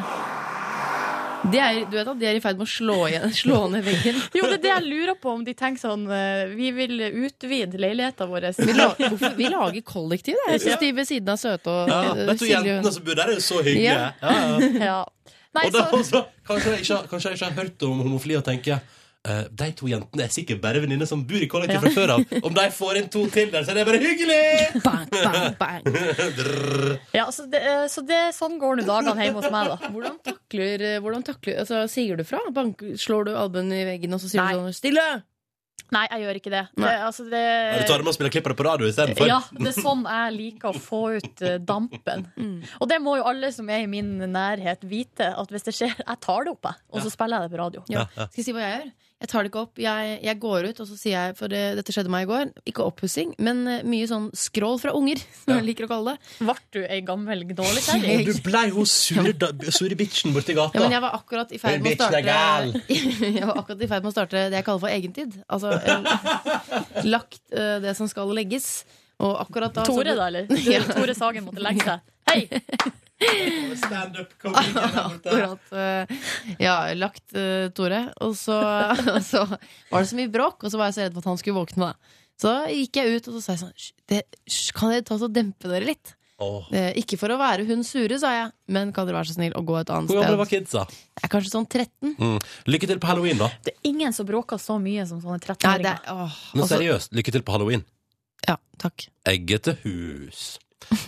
C: De er, du vet at de er i ferd med å slå, igjen, [laughs] slå ned veggen.
E: Jo, det er det jeg lurer på, om de tenker sånn eh, Vi vil utvide leiligheten [laughs] vår.
C: Vi la- hvorfor- vi lager kollektiv, det. Jeg
E: Ja.
C: synes de ved siden av søte og
B: Ja,
C: eh,
B: vet du,
C: Silje-
B: Jentene som bor der, er jo så hyggelige.
C: Ja.
B: Ja. Ja,
E: Ja. Nei,
B: og det,
E: så,
B: også, kanskje, jeg ikke, kanskje jeg ikke har hørt om homofili og tenker eh, de to jentene er sikkert bare venninner som bor i kollektiv
E: Ja.
B: fra før av. Om de får inn to til der, så er det bare hyggelig!
C: Bang, bang, bang.
B: Drrr.
E: ja, så, det, eh, så det, sånn går nå dagene hjemme hos meg, da.
C: Hvordan takler, eh, hvordan takler altså, Sier du fra? Bank, slår du albuen i veggen og så sier du sånn 'stille'?
E: Nei, jeg gjør ikke det.
C: Nei.
E: Eh, altså, det
B: Ja, Du tar dem og spiller klippere på radio istedenfor?
E: Ja, det er sånn jeg liker å få ut eh, [laughs] dampen. Og det må jo alle som er i min nærhet vite, at hvis det skjer, jeg tar det opp, jeg. Og så spiller jeg det på radio.
C: Ja. Skal jeg si hva jeg gjør? Jeg tar det ikke opp. Jeg, jeg går ut, og så sier jeg For eh, dette skjedde meg i går. Ikke oppussing, men eh, mye sånn skrål fra unger, [laughs] som jeg liker å kalle det.
E: Ble du ei gammel dårlig
B: Og du blei hun sure, da- sure bitchen borti gata.
C: Ja, men jeg var akkurat i ferd
B: Hun
C: med å
B: bitchen er
C: starte [laughs] Jeg var akkurat i ferd med å starte det jeg kaller for egentid. Altså eh, [laughs] lagt eh, det som skal legges. Og akkurat da så
E: Tore,
C: ble-
E: da, [laughs] eller?
C: Ja.
E: Altså, Du, Tore Sagen måtte legge seg.
C: [laughs] [laughs] Akkurat. eh, ja, lagt eh, Tore. Og så, [laughs] og så var det så mye bråk, og så var jeg så redd for at han skulle våkne. Da. Så gikk jeg ut og så sa jeg sånn «Hysj, det, hysj, Kan dere ta så dempe dere litt?
B: Åh.
C: Eh, ikke for å være hun sure, sa jeg, men kan dere være så snill å gå et annet
B: Hvor gamle var
C: sted?
B: kidsa?
C: Jeg er kanskje sånn 13.
B: Mm. Lykke til på halloween, da.
E: [laughs] Det er ingen som bråker så mye som sånne
C: Nei, det
E: 13-åringer.
C: er, åh,
B: Men
C: altså-
B: seriøst, lykke til på halloween.
C: Ja, takk.
B: Eggete hus.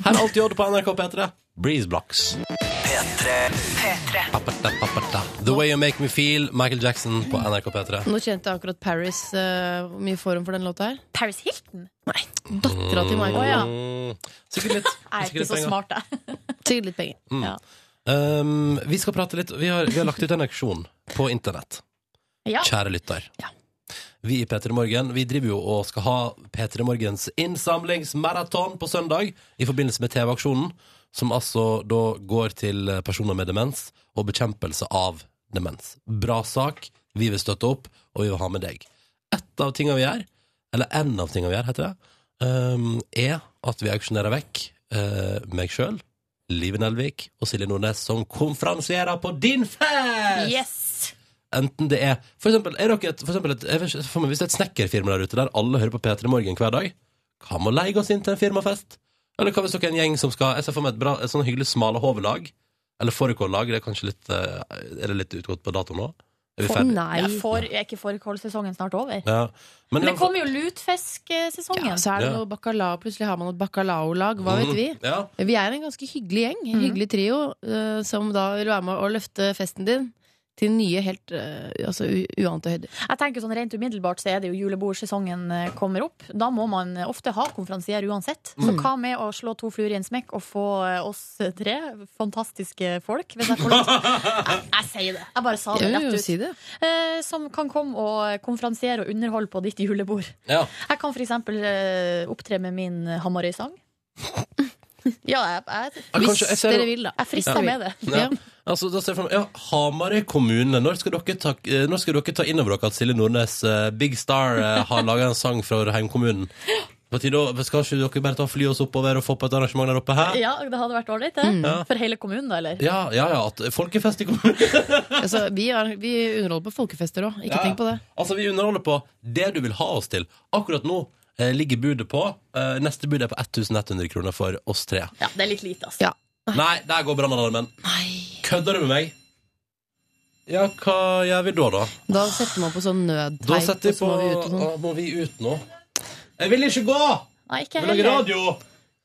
B: Her er alltid Odd på NRK P3. Breeze Blocks. Apata, apata. The Way You Make Me Feel, Michael Jackson på NRK P3.
C: Nå kjente jeg akkurat Paris. eh, Hvor mye får hun for den låta her?
E: Paris Hilton?
C: Nei. Dattera til Michael.
E: Mm.
B: Mm, Sikkert litt.
E: Jeg er ikke så smart, jeg.
C: Sikkert litt penger.
B: Mm. Um, vi skal prate litt Vi har, vi har lagt ut en auksjon på internett.
E: [laughs] Ja.
B: Kjære lytter. Vi i P3 Morgen Vi driver jo og skal ha P3 Morgens innsamlingsmaraton på søndag i forbindelse med TV-aksjonen, som altså da går til personer med demens og bekjempelse av demens. Bra sak. Vi vil støtte opp, og vi vil ha med deg. Ett av tingene vi gjør, eller en av tingene vi gjør, heter det, um, er at vi auksjonerer vekk eh, meg sjøl, Live Nelvik og Silje Nordnes som konferansierer på din fest!
E: Yes!
B: Enten det er For eksempel, er dere et, for eksempel et, jeg vet ikke, for meg, Hvis det er et snekkerfirma der ute der alle hører på P3 Morgen hver dag, hva med å leie oss inn til en firmafest? Eller hva hvis dere er en gjeng som skal Jeg ser for meg et, bra, et sånn hyggelig smalahovelag. Eller fårikållag. Det er kanskje litt eh, Er det litt utgått på dato nå? Er vi
E: For,
B: ferdig?
E: nei. Ja, for, er ikke fårikålsesongen snart over?
B: Ja. Men,
E: Men det kommer jo lutfisksesongen.
C: Ja, så er det
B: Ja. Mm.
C: noe bacalao. Plutselig har man et bacalaolag. Hva vet vi?
B: Ja.
C: Vi er en ganske hyggelig gjeng. En hyggelig trio eh, som da vil være med å løfte festen din til nye, helt eh, altså, u uante høyder.
E: Jeg tenker sånn Rent umiddelbart så er det jo julebordsesongen eh, kommer opp. Da må man eh, ofte ha konferansier uansett. Så
C: Mm.
E: hva med å slå to fluer i en smekk og få eh, oss tre fantastiske folk, hvis jeg får lov? [laughs] Jeg, jeg sier det. Jeg bare sa det
C: Ja, jo,
E: rett ut.
C: si det.
E: Eh, som kan komme og eh, konferansiere og underholde på ditt julebord.
B: Ja.
E: Jeg kan f.eks. Eh, opptre med min Hamarøy-sang. [laughs] Ja, jeg, jeg,
B: Ja, kanskje- jeg ser jo-
E: Jeg frister
B: Ja.
E: med det.
B: Ja. Altså, da ser jeg for meg- ja, Hamarøy kommune, når skal dere ta, eh, når skal dere ta inn over dere at Silje Nordnes, eh, Big Star, eh, har laga en sang fra heimkommunen? På tide, å- skal ikke dere bare ta og fly oss oppover og få på et arrangement der oppe? Hæ?
E: Ja, det hadde vært ålreit, det.
B: Ja.
E: For hele kommunen, da, eller?
B: Ja, ja, ja, at folkefest i kommunen
C: Altså, vi, er, vi underholder på folkefester òg. Ikke
B: Ja.
C: tenk på det.
B: Altså, vi underholder på det du vil ha oss til. Akkurat nå eh, ligger budet på eh, Neste bud er på 1100 kroner for oss tre.
E: Ja, det er litt lite, altså.
B: Nei, der går brannalarmen. Kødder du med meg? Ja, hva gjør vi da, da?
C: Da setter man på sånn
B: Da
C: nødteip.
B: setter
C: og
B: vi
C: så
B: på
C: må vi ut og sånn.
B: Å, Må vi ut nå? Jeg vil ikke gå!
E: Nei, ikke
B: Jeg vil lage
E: heller.
B: radio!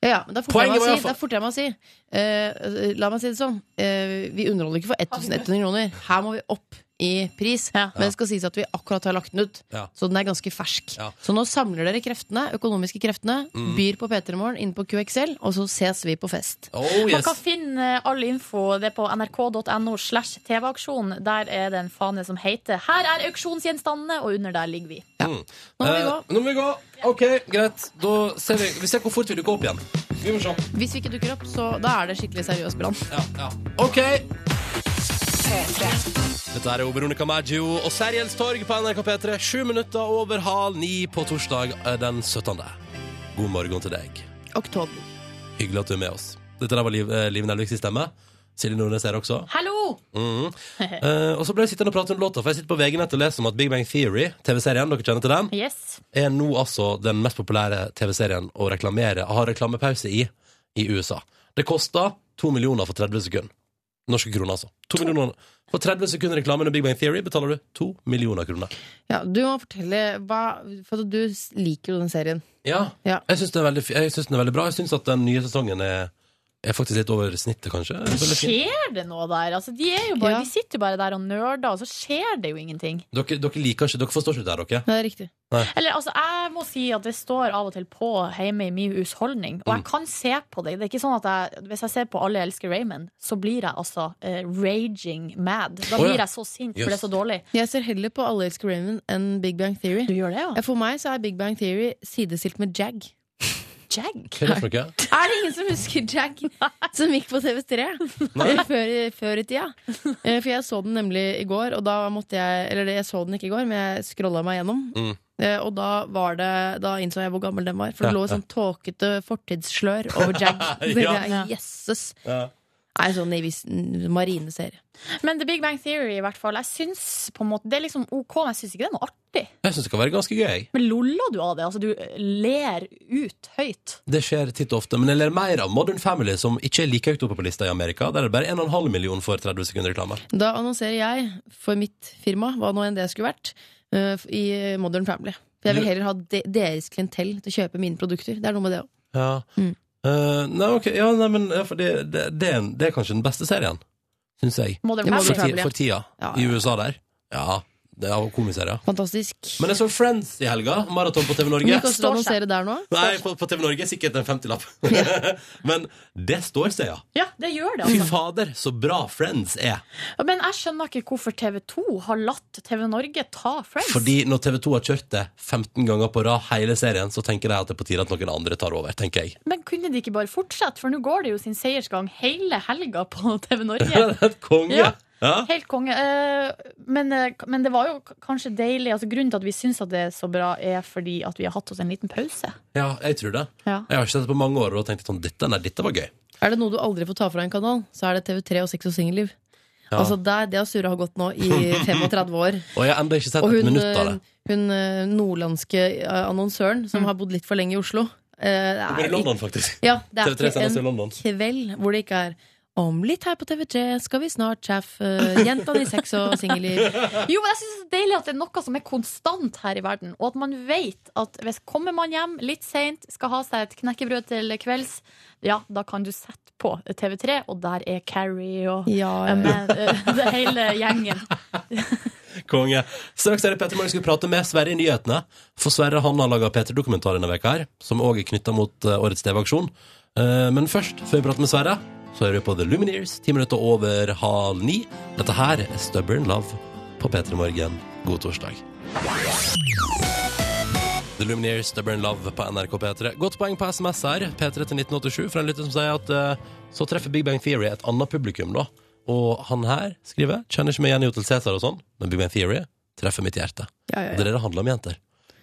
C: Ja, ja, men da forter
B: Poenget
C: jeg meg
B: var i
C: å
B: hvert
C: si, da
B: fall-
C: forter jeg meg å si. eh, la meg si det sånn. eh, vi underholder ikke for 1100 kroner. Her må vi opp i pris. Men det skal sies at vi akkurat har lagt den ut,
B: Ja.
C: så den er ganske fersk.
B: Ja.
C: Så nå samler dere kreftene, økonomiske kreftene,
B: Mm.
C: byr på P3 Morgen inn på QXL, og så ses vi på fest.
B: Oh,
E: Man kan finne all info det er på nrk.no slash TV-aksjon. Der er det en fane som heter 'Her er auksjonsgjenstandene', og under der ligger vi.
B: Mm. Eh, nå må vi gå. OK, greit. Da ser vi. vi ser hvor fort vi dukker opp igjen. Vi må se.
C: Hvis vi ikke dukker opp, så da er det skikkelig seriøs brann.
B: Ja, ja. OK! Dette er jo Veronica Maggio og Seriels Torg på NRK P3. Sju minutter over halv ni på torsdag eh, den 17. God morgen til deg.
C: Oktober.
B: Hyggelig at du er med oss. Dette der var Liv, eh, Liv Nelvik sin stemme. Silje Nordnes er her også.
E: Hallo!
C: [laughs]
B: Mhm. Eh, og så ble jeg sittende og prate om låta, for jeg sitter på VG-nett og leser om at Big Bang Theory, TV-serien, dere kjenner til den,
E: Yes.
B: er nå altså den mest populære TV-serien å reklamere, ha reklamepause i, i USA. Det koster to millioner for 30 sekunder. Norske kroner, altså. To millioner. For 30 sekunder reklame under Big Bang Theory betaler du to millioner kroner.
C: Ja, du må fortelle hva For du s- liker jo den serien.
B: Ja.
C: Ja.
B: Jeg syns den, er veldig fi- jeg synes den er veldig bra. Jeg syns at den nye sesongen er, er faktisk litt over snittet, kanskje. Veldig fin.
E: Skjer det noe der? Altså, de, er jo bare, de sitter jo bare der og nerder, og så skjer det jo ingenting.
B: Dere, dere liker ikke Dere forstår ikke det her, dere?
C: Nei, det er riktig.
B: Nei.
E: Eller, altså, jeg må si at det står av og til på hjemme i min husholdning, og jeg
C: Mm.
E: kan se på det. Det er ikke sånn at jeg, Hvis jeg ser på Alle elsker Raymond, så blir jeg altså eh, raging mad. Da
C: Å,
E: blir
C: ja.
E: jeg så sint, for det er så dårlig.
C: Jeg ser heller på Alle elsker Raymond enn Big Bang Theory. Ja, Eh, For meg så er Big Bang Theory sidestilt med Jag.
E: Jag?
B: Hva er det for noe?
C: [laughs] Er det ingen som husker Jag [laughs] som gikk på TV3 før, i- før i tida? Eh, For jeg så den nemlig i går, og da måtte jeg Eller jeg så den ikke i går, men jeg scrolla meg gjennom.
B: Mm.
C: Eh, Og da, var det, da innså jeg hvor gammel den var. For det
B: Ja,
C: lå et
B: ja.
C: sånn tåkete fortidsslør
B: [laughs]
C: over Jag. [laughs] Så tenkte
E: Ja.
C: jeg, Jøsses!
B: Ja.
C: Det er en sånn Navy marineserie.
E: Men The Big Bang Theory, i hvert fall. Jeg syns på en måte Det er liksom OK, men jeg syns ikke det er noe artig.
B: Jeg syns det kan være ganske gøy.
E: Men loller du av det? Altså, du ler ut høyt.
B: Det skjer titt og ofte, men jeg ler mer av Modern Family, som ikke er like høyt oppe på lista i Amerika. Der er det bare 1,5 million for 30 sekunder reklame.
C: Da annonserer jeg for mitt firma, hva nå enn det skulle vært, eh, i Modern Family. For jeg vil
B: Du-
C: heller ha de deres klientell til å kjøpe mine produkter. Det er noe med det òg.
B: Ja.
C: Mm.
B: Eh, nei, ok, ja, nei, men ja, for det, det, det, er, en- det er kanskje den beste serien, syns jeg.
C: Modern
B: for, ti,
C: Family, ja.
B: for tida,
C: Ja,
B: i USA der. Ja, det er jo komiserie.
C: Fantastisk.
B: Men jeg så Friends i helga, maraton på TV
C: Hvor
B: Norge.
C: mye koster det å annonsere der nå?
B: Nei, på, på TV Norge sikkert en 50-lapp. [laughs] men det står seg, ja.
E: Ja, det gjør det,
B: Fy
E: altså.
B: fader, så bra Friends er.
E: Men jeg skjønner ikke hvorfor TV2 har latt TV Norge ta Friends.
B: Fordi når TV 2 har kjørt det 15 ganger på rad hele serien, så tenker de at det er på tide at noen andre tar over, tenker jeg.
E: Men kunne de ikke bare fortsette? For nå går det jo sin seiersgang hele helga på [laughs]
B: [laughs]
E: TV
B: Det
E: Norge.
B: er et konge!
E: Ja.
B: Ja.
E: Helt konge. Eh, Men, eh, men det var jo k- kanskje deilig. Altså, grunnen til at vi syns at det er så bra, er fordi at vi har hatt oss en liten pause.
B: ja, jeg tror det.
E: Ja.
B: Jeg har ikke sett det på mange år og da tenkte jeg sånn Dette, nei, dette var gøy.
C: Er det noe du aldri får ta fra en kanal, så er det TV3 og Sex og singelliv.
B: Ja.
C: Altså der, Det har Sura gått nå i
B: [laughs]
C: 35 år.
B: Og jeg har ennå ikke sett
C: Og
B: et
C: hun,
B: minutt av det. Mm.
C: hun eh, nordlandske eh, annonsøren som har bodd litt for lenge i Oslo eh,
B: Hun
C: det er
B: bor i London, faktisk. [laughs]
C: Ja, det er
B: TV3
C: ikke
B: sendes i
C: en
B: London.
C: kveld hvor det ikke er om litt her på TV3 skal vi snart sjef eh, jentene i sex og singelliv.
B: [laughs]
E: Jo, men jeg synes det er deilig at det er noe som er konstant her i verden, og at man vet at hvis kommer man hjem litt sent, skal ha seg et knekkebrød til kvelds, ja, da kan du sette på TV3, og der er Carrie og
C: Ja,
E: eh, men, eh, det hele gjengen.
B: Konge. Straks er det Petter Morgen skal prate med Sverre i nyhetene. For Sverre han har laga P3-dokumentar denne veka her, som òg er knytta mot eh, årets TV-aksjon. Eh, Men først, før vi prater med Sverre, så hører vi på The Lumineers, ti minutter over halv ni. Dette her er Stubborn Love på P3 Morgen. God torsdag. The Lumineers, Stubborn Love på NRK P3. Godt poeng på SMS her, P3 til 1987, fra en lytter som sier at eh, så treffer Big Bang Theory et annet publikum, da. Og han her skriver Kjenner ikke meg igjen i Hotel Cæsar og sånn, men Big Bang Theory treffer mitt hjerte.
C: Ja, ja, ja.
B: Og Det er det det handler om, jenter.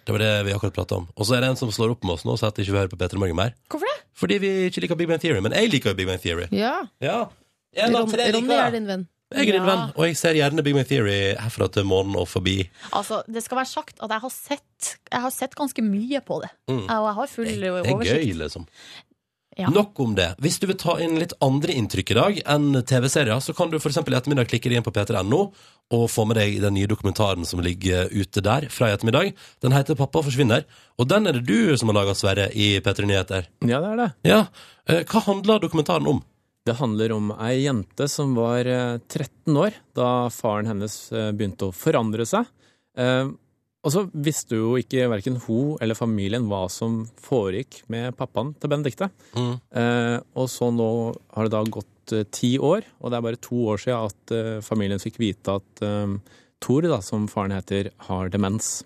B: Det var det vi akkurat prata om. Og så er det en som slår opp med oss nå og sier at ikke vi hører på P3 Morgen mer.
E: Hvorfor det?
B: Fordi vi ikke liker Big Bang Theory. Men jeg liker jo Big Bang Theory.
C: Ja.
B: Ja. En av
C: Ron,
B: tre liker
C: Ronny er
B: det.
C: din venn.
B: Jeg er din
E: Ja.
B: venn, og jeg ser gjerne Big Bang Theory herfra til månen og forbi.
E: Altså, det skal være sagt at jeg har sett, jeg har sett ganske mye på det,
B: Mm.
E: og jeg har full
B: Det er
E: oversikt.
B: gøy, liksom.
E: Ja.
B: Nok om det. Hvis du vil ta inn litt andre inntrykk i dag enn TV-serier, så kan du f.eks. i ettermiddag klikke deg inn på p3.no og få med deg den nye dokumentaren som ligger ute der fra i ettermiddag. Den heter 'Pappa forsvinner', og den er det du som har laga, Sverre, i P3 Nyheter.
K: Ja, det er det.
B: Ja. Eh, Hva handler dokumentaren om?
K: Det handler om ei jente som var eh, 13 år da faren hennes eh, begynte å forandre seg. Eh, Og så visste jo ikke verken hun eller familien hva som foregikk med pappaen til Benedicte.
B: Mm.
K: Eh, og så nå har det da gått eh, ti år, og det er bare to år siden at eh, familien fikk vite at eh, Tor, da, som faren heter, har demens.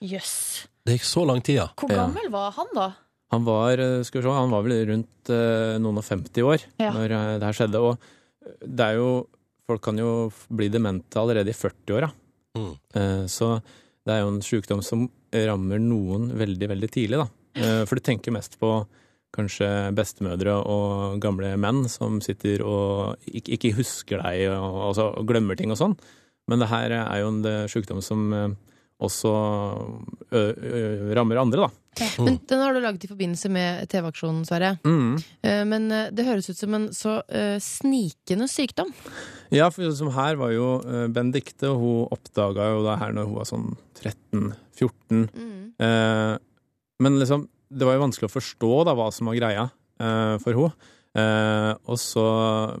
L: Jøss.
B: Det gikk så lang tid, ja.
L: Hvor gammel var han da?
K: Han var, eh, skal vi se, han var vel rundt eh, noen og 50 år
L: Ja.
K: når eh, det her skjedde. Og eh, det er jo Folk kan jo f- bli demente allerede i 40-åra. Eh, Så det er jo en sykdom som rammer noen veldig, veldig tidlig, da. Eh, For du tenker mest på kanskje bestemødre og gamle menn som sitter og ikke ikke husker deg og, altså, og glemmer ting og sånn. Men det her er jo en eh, sykdom som eh, også ø, ø, rammer andre, da.
B: Mm.
M: Men den har du laget i forbindelse med TV-aksjonen, Sverre.
K: Mm.
M: Eh, Men eh, det høres ut som en så eh, snikende sykdom.
K: Ja, for som her var jo eh, Benedicte, og hun oppdaga jo det her når hun var sånn 13-14. Eh, men liksom, det var jo vanskelig å forstå da hva som var greia eh, for hun. Eh, og så,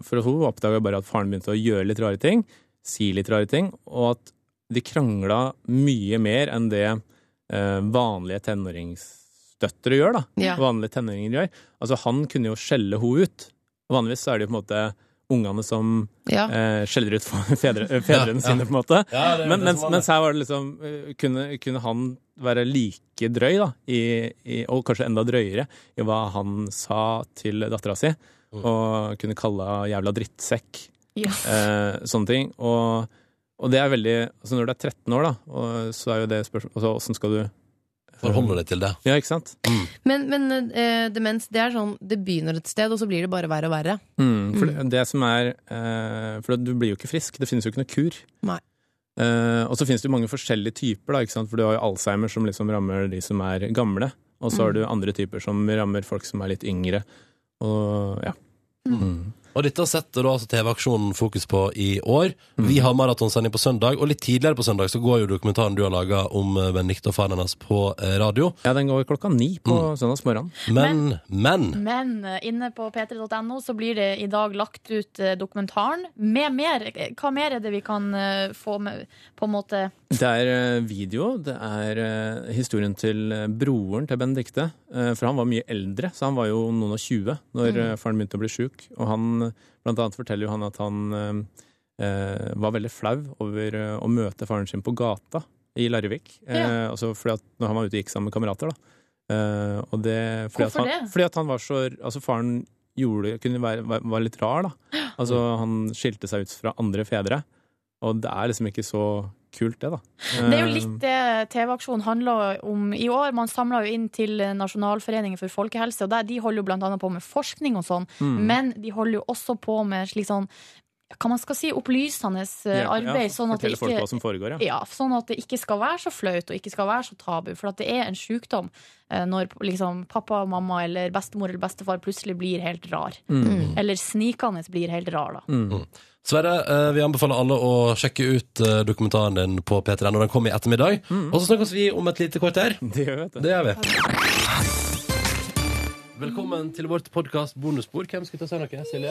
K: for hun oppdaga bare at faren begynte å gjøre litt rare ting, si litt rare ting, og at de krangla mye mer enn det eh, vanlige tenåringsdøtre gjør, da.
N: Ja.
K: Vanlige tenåringer gjør. Altså, han kunne jo skjelle henne ut. Vanligvis så er det jo på en måte ungene som
N: Ja.
K: eh, skjeller ut [laughs] fedre,
N: Ja,
K: fedrene
N: ja.
K: sine, på en måte.
N: Ja, det er
K: Men,
N: det
K: mens,
N: som var det.
K: mens her var det liksom eh, kunne, kunne han være like drøy, da, i, i, og kanskje enda drøyere, i hva han sa til dattera si,
N: Mm.
K: og kunne kalle henne jævla drittsekk.
N: Yes.
K: Eh, sånne ting. Og, og det er veldig altså Når du er 13 år, da, og, så er jo det spørsmålet altså, Åssen skal du
B: Forholde deg til det.
K: Ja, ikke sant?
M: Men, men eh, demens, det er sånn Det begynner et sted, og så blir det bare verre og verre.
K: Mm, for det, det som er eh, For du blir jo ikke frisk. Det finnes jo ikke noe kur.
M: Nei.
K: Eh, og så finnes det jo mange forskjellige typer, da, ikke sant? for du har jo Alzheimer som liksom rammer de som er gamle, og så
B: Mm.
K: har du andre typer som rammer folk som er litt yngre. Og ja. Mm.
B: Og dette setter da altså TV-aksjonen fokus på i år. Vi har maratonsending på søndag, og litt tidligere på søndag så går jo dokumentaren du har laga om eh, Benedicte og faren hennes på eh, radio.
K: Ja, den går klokka ni på søndagsmorgen.
B: Men, men,
L: Men eh, inne på p3.no så blir det i dag lagt ut eh, dokumentaren med mer. eh, Hva mer er det vi kan eh, få med, på en måte
K: Det er eh, video. Det er eh, historien til eh, broren til Benedicte. eh, For han var mye eldre, så han var jo noen og tjue når
N: Mm.
K: eh, faren begynte å bli sjuk. Og han, eh, blant annet forteller jo han at han eh, eh, var veldig flau over eh, å møte faren sin på gata i Larvik. Eh, altså fordi at når han var ute og gikk sammen med kamerater, da. Eh, og det, fordi
N: Hvorfor
K: at han,
N: det?
K: Fordi at han var så Altså, faren gjorde, kunne være, være- var litt rar, da. Altså, han skilte seg ut fra andre fedre. Og det er liksom ikke så kult, det, da.
L: Det er
K: Eh,
L: jo litt det TV-aksjonen handler om i år. Man samla jo inn til Nasjonalforeningen for folkehelse, og der, de holder jo blant annet på med forskning og sånn,
K: Mm.
L: men de holder jo også på med slik sånn hva man skal si, opplysende eh,
K: Ja, ja,
L: arbeid. sånn, at det
K: fortelle folk
L: ikke,
K: hva som foregår, ja.
L: sånn at det ikke skal være så flaut og ikke skal være så tabu. For at det er en sykdom eh, når liksom, pappa, mamma eller bestemor eller bestefar plutselig blir helt rar.
B: Mm.
L: Eller snikende blir helt rar, da.
B: Mm. Sverre, eh, vi anbefaler alle å sjekke ut eh, dokumentaren din på P3 når den kommer i ettermiddag. Og så snakkes vi om et lite kvarter.
K: Mm. [laughs] Det gjør vi.
B: Det gjør vi. Velkommen til vårt podkast Bonusbord. Hvem skal ta seg noe? Silje?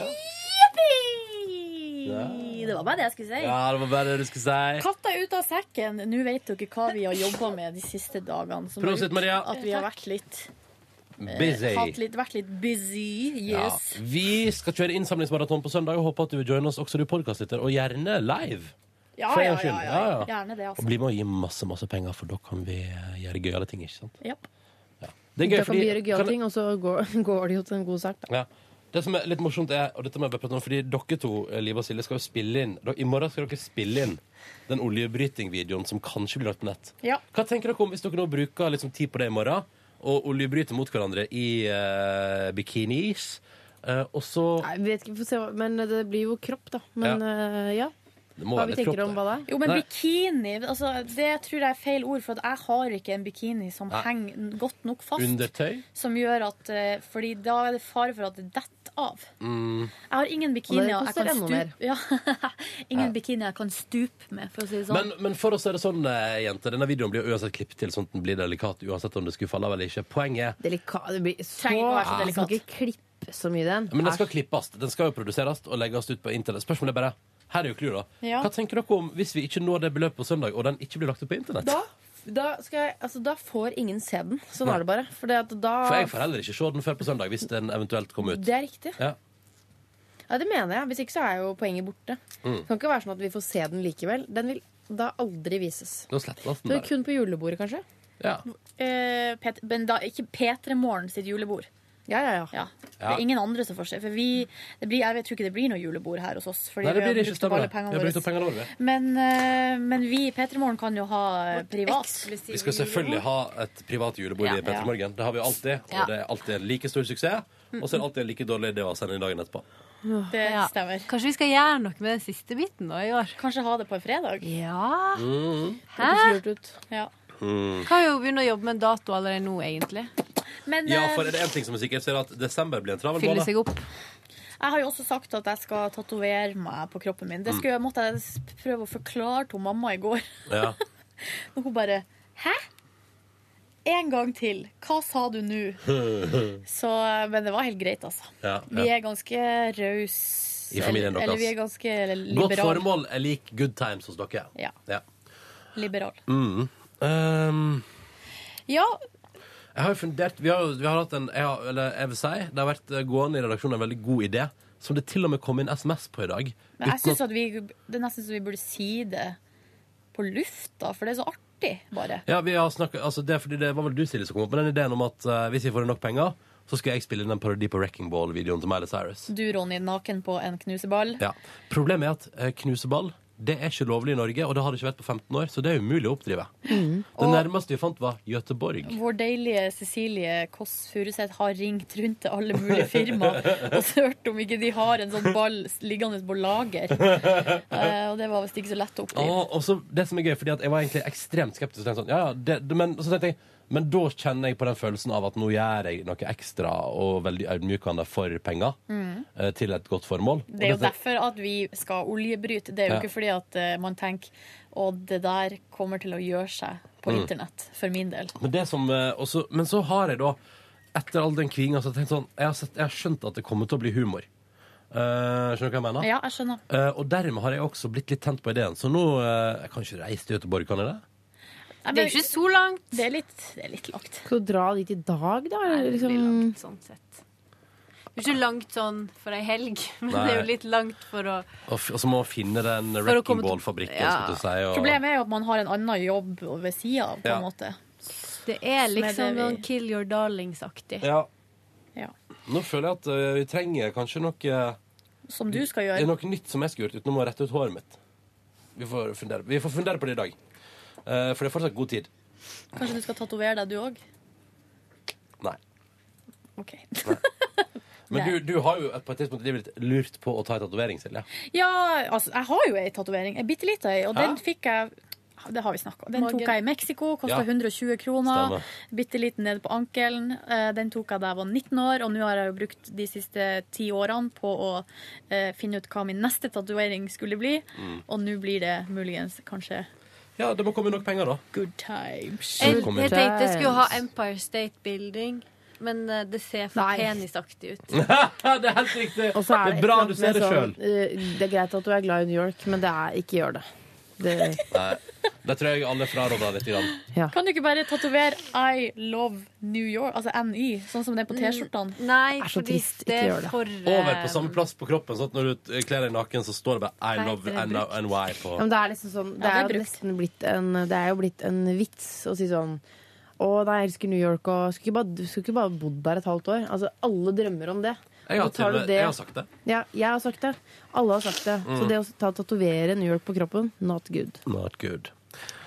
B: Ja.
E: Det var bare det jeg skulle si.
B: ja, det var bare det du skulle si.
E: Katta er ute av sekken. Nå vet dere hva vi har jobba med de siste dagene. som har
B: Prosit,
E: gjort
B: Maria.
E: At vi har vært litt eh,
B: Busy.
E: Hatt litt, vært litt busy. Yes.
B: Ja. Vi skal kjøre innsamlingsmaraton på søndag og håper at du vil joine oss, også du podkastlytter, og gjerne live.
E: Ja,
B: For en
E: ja,
B: gangs
E: ja,
B: skyld.
E: ja, Gjerne det, altså.
B: Og bli med og gi masse, masse penger, for da kan vi eh, gjøre gøyale ting, ikke sant?
E: Ja.
B: Det er gøy,
M: da kan vi gjøre gøyale
B: kan-
M: ting, og så går, [laughs] går det jo til en god sak, da.
B: Ja. Det som er litt morsomt er, og dette må jeg bare prate om, fordi dere to, eh, Liv og Silje, skal jo spille inn da- I morgen skal dere spille inn den oljebrytingvideoen som kanskje blir lagt på nett.
E: Ja.
B: Hva tenker dere om hvis dere nå bruker liksom tid på det i morgen, og oljebryter mot hverandre i eh, bikinis, eh, og så
M: Nei, vi vet ikke, vi får se, hva- men det blir jo kropp, da. Men eh, ja.
B: Det må
M: Hva
B: være
M: vi
B: litt
M: tenker
B: kropp,
M: om
B: det.
M: hva da?
E: Jo, men
B: Nei.
E: bikini altså, Det tror jeg er feil ord, for at jeg har ikke en bikini som
B: Nei.
E: henger n- godt nok fast.
B: Undertøy?
E: Som gjør at eh, Fordi da er det fare for at det detter av.
B: Mm.
E: Jeg har ingen
M: Og
E: bikini
M: det
E: jeg
M: koster
E: kan
M: enda
E: stupe
M: mer.
E: [laughs] ja. Ingen
B: Ja.
E: bikini jeg kan stupe med, for å si det sånn.
B: Men, men for oss er det sånn, eh, jenter, denne videoen blir jo uansett klippet til, sånn at den blir delikat uansett om det skulle falle av eller ikke. Poenget er
M: Delika, det blir så,
E: Trenger ikke å være så
M: Ah,
E: delikat.
M: Skal ikke klippe
C: klipp så mye, den.
B: Men den skal klippes. Den skal jo produseres og legges ut på internett. Spørsmålet er bare her er jo clouet, da.
C: Ja.
B: Hva tenker dere om hvis vi ikke når det beløpet på søndag, og den ikke blir lagt ut på internett?
C: Da, da, skal jeg, altså, da får ingen se den. Sånn
B: Nei.
C: er det bare. For det, at da,
B: For jeg får heller ikke se den før på søndag, hvis den eventuelt kommer ut.
C: det er riktig.
B: Ja.
C: Ja, det mener jeg. Hvis ikke så er jo poenget borte.
B: Mm.
C: Det kan ikke være sånn at vi får se den likevel. Den vil da aldri vises.
B: Da sletter
C: Så
B: den bare.
C: kun på julebordet, kanskje?
B: Ja.
E: Eh, Pet- men da, ikke P3 Morgen sitt julebord.
C: Ja, ja, ja.
E: Det er ingen andre som får se. For vi, det blir, jeg tror ikke det blir noe julebord her hos oss. Fordi
B: Nei, det
E: vi har
B: blir ikke
E: brukt opp
B: stemmer.
E: alle
B: Vi
E: pengene
B: har brukt opp
E: våre.
B: pengene våre.
E: Men, eh, men vi i P3 Morgen kan jo ha eh, privat.
B: Vi skal selvfølgelig ha et privat julebord
E: Ja.
B: i Petter Morgen. Det har vi jo alltid,
E: Ja.
B: og det er alltid en like stor suksess. Og så er det alltid en like dårlig idé å sende i dagen etterpå.
E: Det stemmer.
N: Kanskje vi skal gjøre noe med den siste biten da i år?
E: Kanskje ha det på en fredag?
N: Ja.
B: Mm.
N: Hæ?
E: Ja.
N: Kan jo begynne å jobbe med en dato allerede nå, egentlig.
E: Men
B: Ja,
E: eh,
B: for er det én ting som er sikkert, så er det at desember blir en travel
N: Fylle seg
B: måned.
N: opp.
E: jeg har jo også sagt at jeg skal tatovere meg på kroppen min. Det
B: Mm.
E: skulle, jeg måtte jeg s- prøve å forklare til mamma i går.
B: Ja.
E: Og hun bare Hæ? En gang til. Hva sa du
B: [laughs]
E: nå? Så, men det var helt greit, altså.
B: Ja,
E: Vi
B: ja.
E: er ganske rause.
B: I familien deres.
E: Eller vi er ganske
B: Godt
E: liberale.
B: formål er lik good times hos dere.
E: Ja.
B: Ja.
E: Liberal.
B: Mm. Um,
E: Ja,
B: Jeg har jo fundert Vi har, jo- vi har hatt en jeg har, Eller jeg vil si Det har vært eh, gående i redaksjonen en veldig god idé Som det til og med kom inn sms på i dag
E: men jeg
B: uten
E: synes at vi, det er nesten så vi burde si det på lufta, for det er så artig, bare.
B: Ja, vi har snakket Altså det er fordi det var vel du Silje som kom opp med den ideen om at eh, Hvis vi får nok penger Så skal jeg spille inn en parodi på Wrecking Ball-videoen til Miley Cyrus
E: Du, Ronny, naken på en knuseball.
B: Ja Problemet er at eh, knuseball Det er ikke lovlig i Norge Og det har det ikke vært på 15 år Så det er umulig å oppdrive
E: Mm.
B: Det nærmeste vi fant var Göteborg
E: Vår deilige Cecilie Kåss Furuseth har ringt rundt til alle mulige firmaer og hørt om ikke de har en sånn ball liggende på lager. Eh, og det var visst ikke så lett
B: Ja,
E: å oppdrive.
B: og så det som er gøy, fordi at jeg var egentlig ekstremt skeptisk. og Tenkte sånn, ja, ja, det, det, men så tenkte jeg men da kjenner jeg på den følelsen av at nå gjør jeg noe ekstra og veldig ydmykende for penger
E: Mm.
B: eh, til et godt formål. Og
E: Det er jo
B: dette-
E: derfor at vi skal oljebryte. Det er jo
B: Ja.
E: ikke fordi at eh, man tenker å, det der kommer til å gjøre seg på
B: Mm.
E: internett, for min del.
B: Men, det som, eh, også, men så har jeg da, etter all den kvinga, så tenkt sånn jeg har, sett, jeg har skjønt at det kommer til å bli humor. Eh, skjønner du hva jeg mener?
E: Ja, jeg skjønner.
B: Eh, og dermed har jeg også blitt litt tent på ideen. Så nå eh, Jeg kan ikke reise til Göteborg, kan jeg det?
E: Det er jo ikke
N: så langt.
E: Det er litt, det er litt langt.
C: Skal du dra dit i dag, da? Eller
N: det blir
C: liksom
N: langt, sånn sett. Det er jo ikke langt sånn for ei helg, men
B: Nei.
N: [laughs] det er jo litt langt for å
B: Og, f og så må jeg finne den
N: å komme
B: wrecking
N: til-
B: ball-fabrikken.
N: Ja.
B: skulle du Si, og...
E: Problemet er jo at man har en annen jobb ved sida av, på
B: Ja.
E: en måte.
N: Det er liksom
E: Men det vi-
N: noen Kill Your Darlings-aktig.
B: Ja.
E: Ja.
B: Nå føler jeg at ø, vi trenger kanskje noe
E: Som du skal
B: Det er
E: gjøre.
B: noe nytt som jeg skal gjøre utenom å rette ut håret mitt. Vi får fundere, vi får fundere på det i dag. Eh, for det er fortsatt god tid.
E: Kanskje du skal tatovere deg, du òg?
B: Nei.
E: OK.
B: Men
E: Nei.
B: du, du har jo på et tidspunkt i livet ditt lurt på å ta en tatovering, Silje.
E: Ja, altså, jeg har jo ei tatovering. Ei bitte lita ei, og
B: Ja.
E: den fikk jeg Det har vi snakka om. Den
N: Magen.
E: tok jeg i Mexico, kosta
B: Ja.
E: 120 kroner.
B: Stemmer.
E: Bitte liten nede på ankelen. Eh, Den tok jeg da jeg var 19 år, og nå har jeg jo brukt de siste ti årene på å eh, finne ut hva min neste tatovering skulle bli,
B: Mm.
E: og nå blir det muligens kanskje
B: Ja, det må komme nok penger, da.
E: Good times.
N: Jeg, jeg tenkte jeg skulle ha Empire State Building, men eh, det ser for penisaktig ut.
B: [laughs] det er helt riktig.
C: Og så er
B: Det
C: det
B: er bra
C: et
B: du ser
C: eller
B: det
C: annet
B: selv.
C: med sånn, eh, Det er greit at du er glad i New York, men det er ikke gjør det. det
B: Nei. Det tror jeg alle fraråder litt. Grann.
E: Kan du ikke bare tatovere I love New York, altså NY, sånn som det er på
N: Mm.
E: T-skjortene?
N: Nei,
B: så fordi trist, ikke det er gjør det.
N: for
B: Over på samme plass på kroppen, sånn at når du eh, kler deg naken, så står det bare I
N: Nei,
B: love
N: det er brukt.
B: NY
C: Ja,
B: på
C: men det er liksom sånn Det
E: Ja, det er
C: er jo nesten blitt en Det er jo blitt en vits å si sånn å nei, jeg elsker New York, og skulle ikke bare, du skulle ikke bare bodd der et halvt år. Altså, Alle drømmer om det.
B: Jeg har,
C: Og tar
B: til, og
C: du
B: med-
C: det-
B: jeg har sagt det.
C: Ja, jeg har sagt det. Alle har sagt det. Så
B: Mm.
C: det å ta tatovere New York på kroppen, not good.
B: Not good.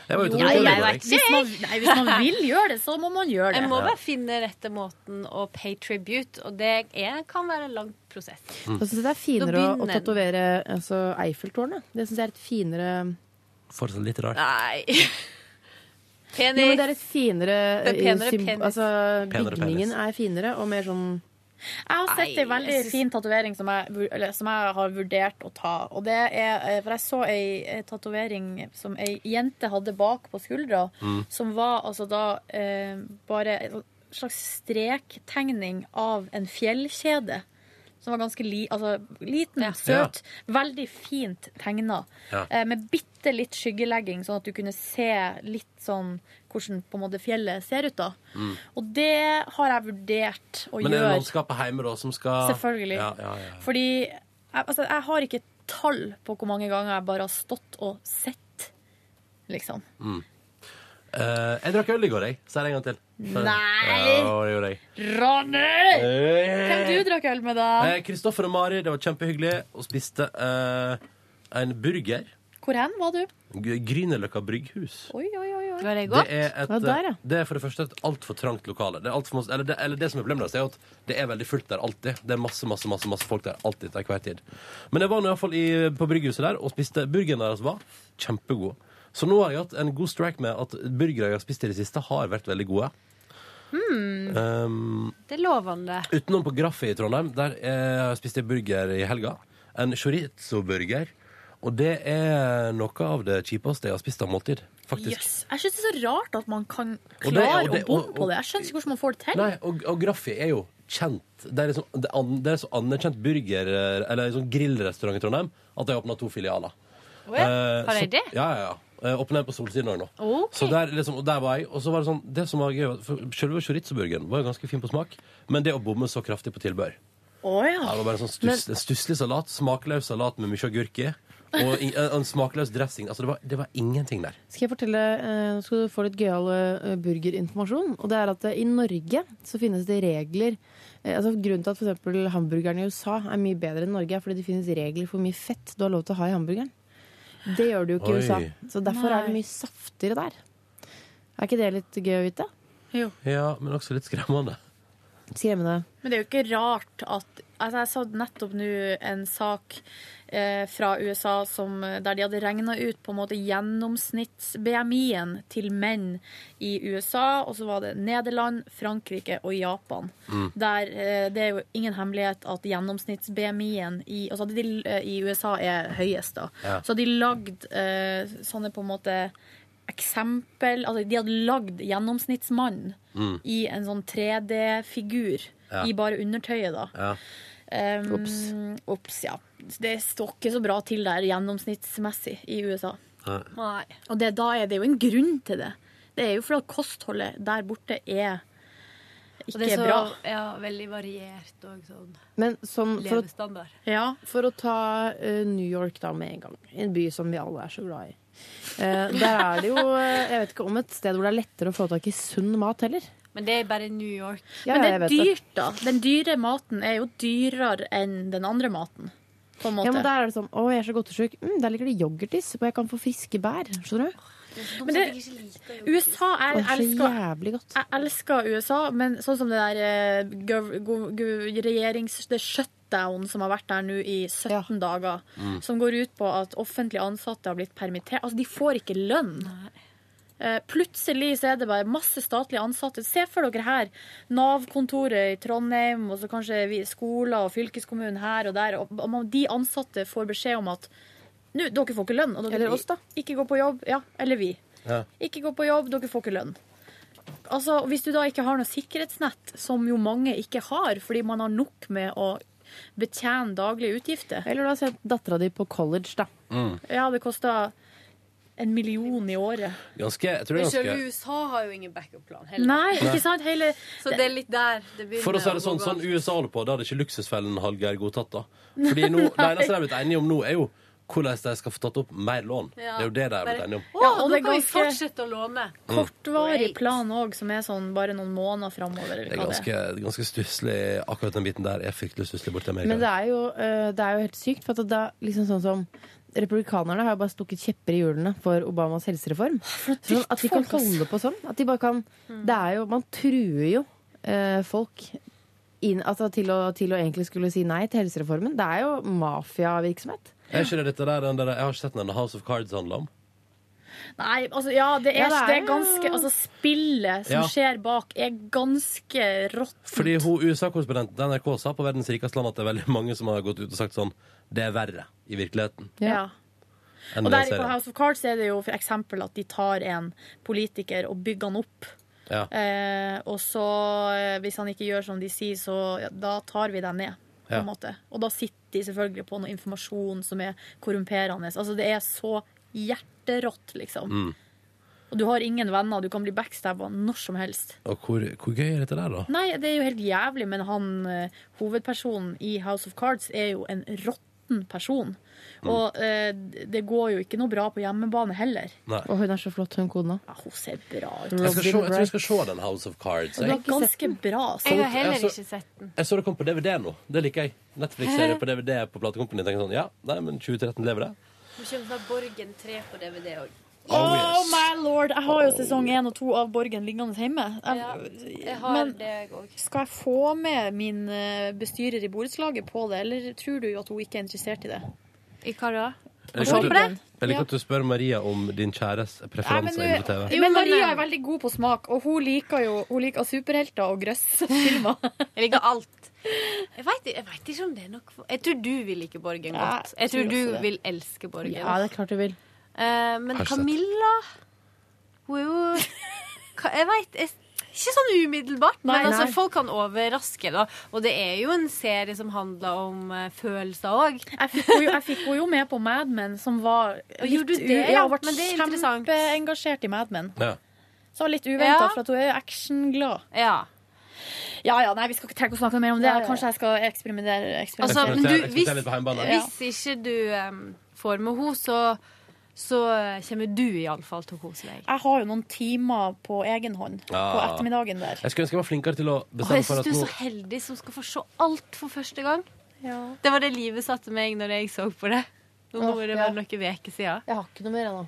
B: Jeg var ute
C: Jo,
B: på
C: jeg
B: Göteborg i
C: vet
B: går, jeg.
C: ikke.
E: Hvis man, nei, hvis man vil gjøre det, så må man gjøre det.
N: Jeg må
B: Ja.
N: bare finne rette måten å pay tribute, og det er, kan være en lang prosess.
B: Mm.
C: Jeg synes det er finere å, å tatovere altså, Eiffeltårnet. Det syns jeg er et finere
B: Fortsatt sånn litt rart.
N: Nei.
C: Jo, men det er et finere
E: Det er penere
C: eh, symb-
E: penis.
C: Altså,
B: Penere
C: bygningen er finere og mer sånn
E: Jeg har sett
C: Nei,
E: en veldig
C: jeg synes-
E: fin tatovering som, jeg vur- eller som jeg har vurdert å ta. Og det er, eh, for jeg så ei eh, tatovering som ei jente hadde bak på skuldra,
B: Mm.
E: som var altså da eh, bare slags strektegning av en fjellkjede. Som var ganske li, altså, liten, søt, veldig fint tegna.
O: Ja.
E: Eh, med bitte litt skyggelegging, sånn at du kunne se litt sånn hvordan på en måte fjellet ser ut. da.
B: Mm.
E: Og det har jeg vurdert å
B: Men er det
E: gjøre.
B: landskapet hjemme da som skal
E: Selvfølgelig.
B: Ja, ja, ja.
E: Fordi jeg, altså, jeg har ikke tall på hvor mange ganger jeg bare har stått og sett, liksom.
B: Mm. Eh, jeg drakk øl i går, jeg. Si det en gang til.
E: Nei.
B: Ja, det gjorde jeg.
E: Ronny! Hvem du drakk øl med, da?
B: Eh, Kristoffer og Mari, det var kjempehyggelig, og spiste eh, en burger.
E: Hvor hen var du?
B: G- Grünerløkka brygghus.
E: Oi, oi, oi. oi.
B: Det er, et, det er for det første et altfor trangt lokale. Det er alt for masse, eller, det, eller det som er problemet deres, er jo at det er veldig fullt der alltid. Det er masse, masse, masse, masse folk der alltid til hver tid. Men jeg var nå iallfall på brygghuset der og spiste burgeren deres var kjempegod. Så nå har jeg hatt en god strike med at burgere jeg har spist i det siste, har vært veldig gode.
N: Hmm,
B: Um,
N: det er lovende.
B: Utenom på Graffi i Trondheim, der eh, spiste jeg burger i helga. En chorizo-burger. Og det er noe av det kjipeste jeg har spist av måltid, faktisk.
E: Yes. Jeg syns det er så rart at man kan
B: Og det-
E: klare
B: og det-
E: å bomme
B: og-
E: på
B: og-
E: det. Jeg skjønner ikke hvordan man får det til.
B: Nei, og, og Graffi er jo kjent. Det er, liksom, det, an, det er så anerkjent burger- eller sånn grillrestaurant i Trondheim at de har åpna to filialer.
O: Å ja,
B: Eh,
O: har de
B: så-
O: det?
B: Ja, ja, ja. Åpna på Solsiden òg nå.
O: Ok.
B: Så der, liksom, og der var jeg. Og så var det sånn Det som var gøy, var- for selve chorizo-burgeren var jo ganske fin på smak, men det å bomme så kraftig på tilbør ja, Det var bare en sånn stuss, en stusslig salat. Smakløs salat med mye agurk i. Og i- en, en smakløs dressing. Altså, det var, det var ingenting der.
C: Skal jeg fortelle, eh, Nå skal du få litt gøyal eh, burgerinformasjon. Og det er at eh, I Norge så finnes det regler eh, altså Grunnen til at for eksempel hamburgeren i USA er mye bedre enn Norge, er fordi det finnes regler for hvor mye fett du har lov til å ha i hamburgeren. Det gjør det jo ikke i
B: Oi.
C: USA. Så derfor er det
E: Nei.
C: mye saftigere der. Er ikke det litt gøy å vite?
B: Ja, men også litt skremmende.
C: Skremmende.
E: Men det er jo ikke rart at altså Jeg så nettopp nå en sak eh, fra USA som, der de hadde regna ut på en måte gjennomsnitts-BMI-en til menn i USA, og så var det Nederland, Frankrike og Japan.
O: Mm.
E: Der eh, Det er jo ingen hemmelighet at gjennomsnitts-BMI-en i, altså de, eh, i USA er høyest. da.
O: Ja.
E: Så hadde de lagd eh, sånne på en måte eksempel Altså de hadde lagd gjennomsnittsmannen
O: Mm.
E: i en sånn 3D-figur
O: Ja.
E: i bare undertøyet, da.
B: Ja.
E: Um,
O: Ups.
E: ups, ja. Det står ikke så bra til der gjennomsnittsmessig i USA.
B: Nei.
E: Og det, da er det jo en grunn til det. Det er jo fordi at kostholdet der borte er ikke
N: Og det er så
E: bra.
N: ja, veldig variert og sånn.
C: Men sånn for å,
N: Levestandard.
C: for å ta eh, New York da med en gang. En by som vi alle er så glad i. Eh, der er det jo eh, Jeg vet ikke om et sted hvor det er lettere å få tak i sunn mat heller.
N: Men det er bare New York.
C: Ja, ja,
E: Men det er
C: jeg vet det.
E: dyrt, da. Den dyre maten er jo dyrere enn den andre maten. På en måte.
C: Ja, men der er det sånn Å, jeg er så godtesjuk. Mm, der ligger det yoghurtis, og jeg kan få friske bær. Skjønner du?
E: Men det, USA er,
C: Åh, så
E: elsker,
C: jævlig godt.
E: Jeg elsker USA, men sånn som det der eh, gov, gov, gov, regjerings... Det shutdown som har vært der nå i 17 dager,
O: Mm.
E: som går ut på at offentlig ansatte har blitt permittert. Altså, de får ikke lønn. Eh, Plutselig så er det bare masse statlige ansatte. Se for dere her Nav-kontoret i Trondheim, og så kanskje vi, skoler og fylkeskommunen her og der. Og og man- de ansatte får beskjed om at nå, dere får ikke lønn. Og dere,
C: Eller oss, da.
E: Ikke gå på jobb. Ja, eller vi.
B: Ja.
E: Ikke gå på jobb, dere får ikke lønn. Altså, Hvis du da ikke har noe sikkerhetsnett, som jo mange ikke har, fordi man har nok med å betjene daglige utgifter
C: Eller da sendt dattera di på college, da.
E: Ja, det koster en million i året.
B: Ganske, jeg tror det er ganske
N: USA har jo ingen backup-plan
E: Nei,
B: Nei.
E: ikke sant? Hele,
N: Så det er litt der det begynner
B: For å si det
N: gå
B: sånn, sånn
N: galt.
B: USA holder på, da hadde ikke luksusfellen Hallgeir godtatt da. Fordi nå, det eneste de har blitt enige om nå, er jo hvordan de skal få tatt opp mer lån. Det er jo det de har blitt enige om.
N: Å,
E: og
N: nå
E: det er
N: kan vi
E: ganske-
N: fortsette å låne.
E: kortvarig plan òg, som er sånn bare noen måneder framover.
B: Det er ganske, ganske stusslig. Akkurat den biten der er fryktelig stusslig borti Amerika.
C: Men det er, jo, eh, det er jo helt sykt. For at det er liksom sånn som Republikanerne har jo bare stukket kjepper i hjulene for Obamas helsereform. Sånn at de kan
E: folk, ass.
C: holde på sånn. At de bare kan Det er jo Man truer jo eh, folk inn, altså til, å, til å egentlig skulle si nei til helsereformen. Det er jo mafiavirksomhet.
B: Er ikke det dette der, den der Jeg har ikke sett den House of Cards handler om.
E: Nei, altså ja, det
C: Ja,
E: er,
C: det er
E: det er
C: jo-
E: ganske Altså, spillet som
B: Ja.
E: skjer bak, er ganske rått.
B: Fordi hun USA-korrespondenten til NRK sa på verdens rikeste land at det er veldig mange som har gått ut og sagt sånn Det er verre i virkeligheten
E: Ja.
B: enn
E: Og
B: i den
E: der på
B: serien.
E: House of Cards er det jo for eksempel at de tar en politiker og bygger han opp.
B: Ja.
E: Eh, og så, eh, hvis han ikke gjør som de sier, så ja, da tar vi deg ned. På
B: Ja.
E: en måte. Og da sitter de selvfølgelig på noe informasjon som er korrumperende. Altså, det er så hjerterått, liksom.
B: Mm.
E: Og du har ingen venner, du kan bli backstabba når som helst.
B: Og hvor, hvor gøy er dette der, da?
E: Nei, det er jo helt jævlig, men han eh, hovedpersonen i House of Cards er jo en råtten person.
B: Mm.
E: Og eh, det går jo ikke noe bra på hjemmebane heller.
B: Nei.
C: Og hun er så flott, hun kona.
E: Ja, hun ser bra ut.
B: Jeg, skal se, jeg tror jeg skal se den House of Cards.
E: Det er ganske bra. altså.
N: Jeg har heller
B: Jeg så-
N: ikke sett den.
B: Jeg så det kom på DVD nå. Det liker jeg. Netflix-serie på DVD på platekompani. Tenker sånn, ja, nei, men 2013 lever det.
N: Nå kommer snart Borgen 3 på DVD òg.
B: Oh,
E: Oh
B: yes.
E: my lord! Jeg har jo sesong én og to av Borgen liggende hjemme. Jeg,
N: Jeg har
E: men
N: det, jeg òg.
E: skal jeg få med min eh, bestyrer i borettslaget på det, eller tror du at hun ikke er interessert i det?
N: I hva da?
B: Jeg
E: Se
B: liker,
E: på
B: at
E: den.
B: du, jeg liker
E: Ja.
B: at du spør Maria om din kjæres
E: Nei, men,
B: preferanser
E: nå-
B: innenfor
N: eh,
B: TV.
E: jo, men Maria er veldig god på smak, og hun liker jo hun liker superhelter og grøssfilmer.
N: [laughs] Jeg liker alt. Jeg veit ikke om det er nok for Jeg tror du vil like Borgen
C: Ja,
N: godt. Jeg
C: tror
N: tror
C: også
N: du
C: det.
N: vil elske Borgen.
C: Ja, det er klart du vil.
N: Eh, men
C: Har ikke sett.
N: Camilla Hun er jo Ka- Jeg veit Ikke sånn umiddelbart,
E: Nei,
N: men altså,
E: nei.
N: folk kan overraske. Da. Og det er jo en serie som handler om eh, følelser òg.
E: Jeg fikk henne jo, jeg fikk henne jo med på Mad Men, som var
N: Gjorde du
E: u-
N: det?
E: Ja, hun ble
N: Men det er interessant.
E: kjempeengasjert i Mad Men.
B: Ja.
E: Så litt uventa,
N: Ja.
E: for at hun er jo actionglad.
N: Ja.
E: ja, nei, vi skal ikke trekke å snakke mer om det.
N: Nei, ja.
E: Kanskje jeg skal eksperimentere.
N: Altså,
E: eksperimentere.
N: men du,
B: Eksperimentere
N: hvis,
B: litt på hjemmebane.
N: hvis ikke du eh, får med henne, så, så eh, kommer du iallfall til å kose deg.
E: Jeg har jo noen timer på egen hånd på
N: Ah.
B: Ja.
E: ettermiddagen der.
B: Jeg skulle ønske jeg var flinkere til å
N: Og
B: bestemme
N: jeg
B: for
N: synes
B: at
N: du
B: nå
N: er så heldig som skal få se alt for første gang. Det var det livet satte meg når jeg så på det. Nå må
C: Åh,
N: det
C: ja.
N: være noen uker siden.
C: Jeg har ikke noe mer ennå.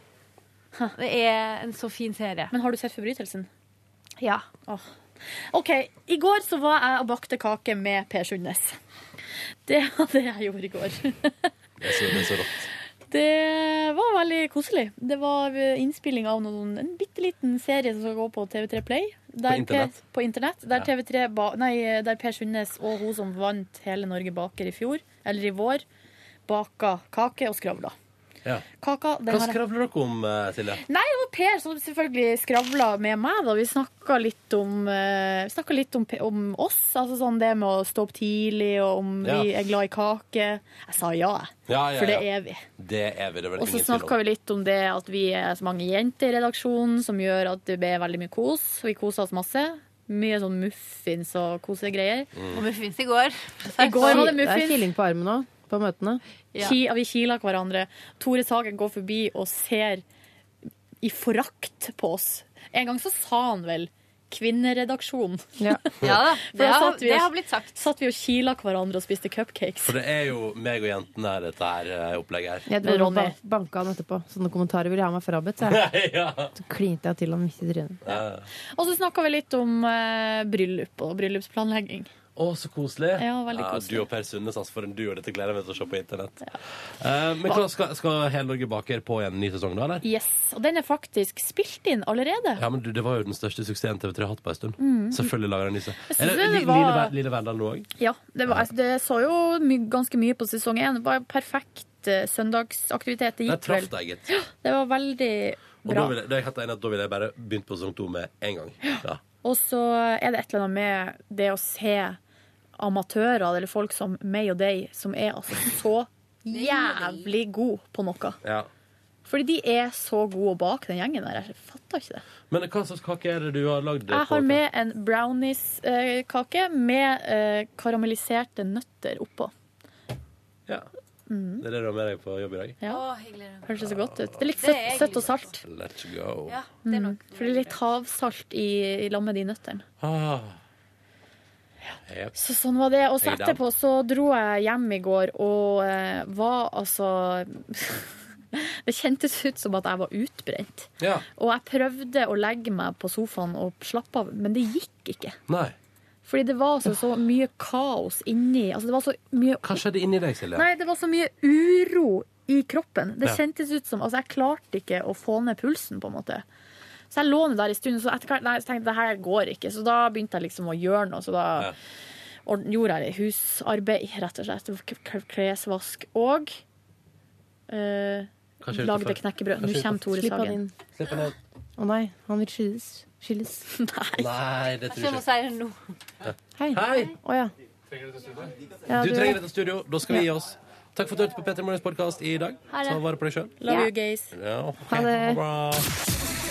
N: Det er en så fin serie.
E: Men har du sett Forbrytelsen?
N: Ja.
E: OK. I går så var jeg og bakte kake med Per Sundnes. Det var det jeg gjorde i går.
B: Det er så, det er så rått.
E: Det var veldig koselig. Det var innspilling av noen, en bitte liten serie som skal gå på TV3 Play. Der
B: internett.
E: Per, på internett. Der,
B: Ja.
E: TV3 ba, nei, der Per Sundnes og hun som vant Hele Norge baker i fjor, eller i vår, baka kake og skravla.
B: Ja.
E: Kaka, den
B: Hva
E: har jeg-
B: skravler dere om, eh, Silje?
E: Nei, det var Per som selvfølgelig skravla med meg. da. Vi snakka litt om, eh, vi snakket litt om, P- om oss. altså sånn Det med å stå opp tidlig, og om
B: Ja.
E: vi er glad i kake. Jeg sa ja, jeg.
B: Ja, ja,
E: For det
B: ja.
E: er vi.
B: Det er vi. Det er vel
E: Og så
B: ingen tvil
E: snakka
B: om.
E: vi litt om det at vi er så mange jenter i redaksjonen, som gjør at det blir veldig mye kos. Vi koser oss masse. Mye sånn muffins og kosegreier.
N: Og muffins i går.
E: I går var det
C: Det er
E: muffins.
C: killing på armen nå, på møtene.
E: Ki, vi kiler hverandre. Tore Sagen går forbi og ser i forakt på oss. En gang så sa han vel 'kvinneredaksjon'.
C: Ja,
N: Ja da,
E: For
N: det
E: da
N: har-
E: satt vi
N: det
E: og-
N: har blitt sagt.
E: Satt vi og kila hverandre og spiste cupcakes.
B: For det er jo meg og jentene her, dette her eh, opplegget her.
C: Jeg dro og ba- banka han etterpå. Sånne kommentarer ville jeg ha meg frabedt. Så, jeg.
B: [laughs] ja.
C: så klinte jeg til han midt i trynet.
B: Ja.
E: Og så snakka vi litt om eh, bryllup og bryllupsplanlegging.
B: Å, så koselig.
E: Ja, veldig
B: du og Per Sundnes, altså, for en duo. Dette gleder jeg meg til å se på internett. Eh, men hva, skal, skal Hele Norge baker på igjen en ny sesong, da? eller?
E: Yes, Og den er faktisk spilt inn allerede.
B: Ja, men du, Det var jo den største suksessen TV3 har hatt på en stund.
E: Mm.
B: Selvfølgelig lager den nyse.
E: Jeg synes
B: Eller
E: det
B: Li-
E: var-
B: Line Ver- Line Verdal nå òg?
E: Ja, det, var, altså, det så jo my ganske mye på sesong én. Det var perfekt eh, søndagsaktivitet. Det
B: Der
E: gikk
B: traff
E: vel.
B: deg, gitt.
E: Det var veldig
B: Og da
E: bra.
B: vil, jeg, da er jeg helt enig at da ville jeg bare begynt på sesong to med en gang. Ja.
E: Og så er det et eller annet med det å se amatører, eller folk som meg og deg, som er altså så jævlig god på noe.
B: Ja.
E: Fordi de er så gode bak den gjengen der. Jeg fatter ikke det.
B: Men hva slags kake er det du har lagd?
E: Jeg har med en brownies-kake med eh, karamelliserte nøtter oppå.
B: Ja.
E: Mm.
B: Det er det du har med deg på jobb i dag?
E: Ja. Høres det så godt ut. Det er litt
N: Det er jeg
E: søtt, søtt og salt.
B: Let's go.
E: Mm. For det er litt havsalt i, i lag med de nøttene.
B: Ah. Jep.
E: Så sånn var det. Og så
B: Jeg er
E: etterpå så dro jeg hjem i går og eh, var altså [laughs] Det kjentes ut som at jeg var utbrent.
B: Ja.
E: Og jeg prøvde å legge meg på sofaen og slappe av, men det gikk ikke.
B: Nei.
E: Fordi det var altså så mye kaos inni altså det var så mye,
B: Hva skjedde inni deg, Silje?
E: Nei, det var så mye uro i kroppen. Det
B: Ja.
E: kjentes ut som Altså, jeg klarte ikke å få ned pulsen, på en måte. Så jeg lå nå der en stund, så etter hvert nei, så tenkte jeg det her går ikke. Så da begynte jeg liksom å gjøre noe. Så da ord- gjorde jeg husarbeid, rett og slett. K- k- Klesvask og eh,
B: Hva skjer
E: lagde
B: utenfor?
E: knekkebrød.
B: Hva
E: Nå
B: skjer
E: kommer
B: utenfor?
E: Tore
B: Slipp han
E: [laughs] Sagen.
B: Slipp han inn.
E: Å,
C: Å nei, han vil skilles. Skilles.
B: Nei, det tror jeg ikke.
N: si det nå.
C: Hei.
B: Hei.
C: Å ja. Ja,
B: Du
C: du-
B: trenger dette studio. Da skal vi gi oss. Takk for at du hørte på Petter Morgens podkast i dag.
E: Ha det.
B: Ta vare på deg sjøl.
E: Love you guys.
C: Ha det.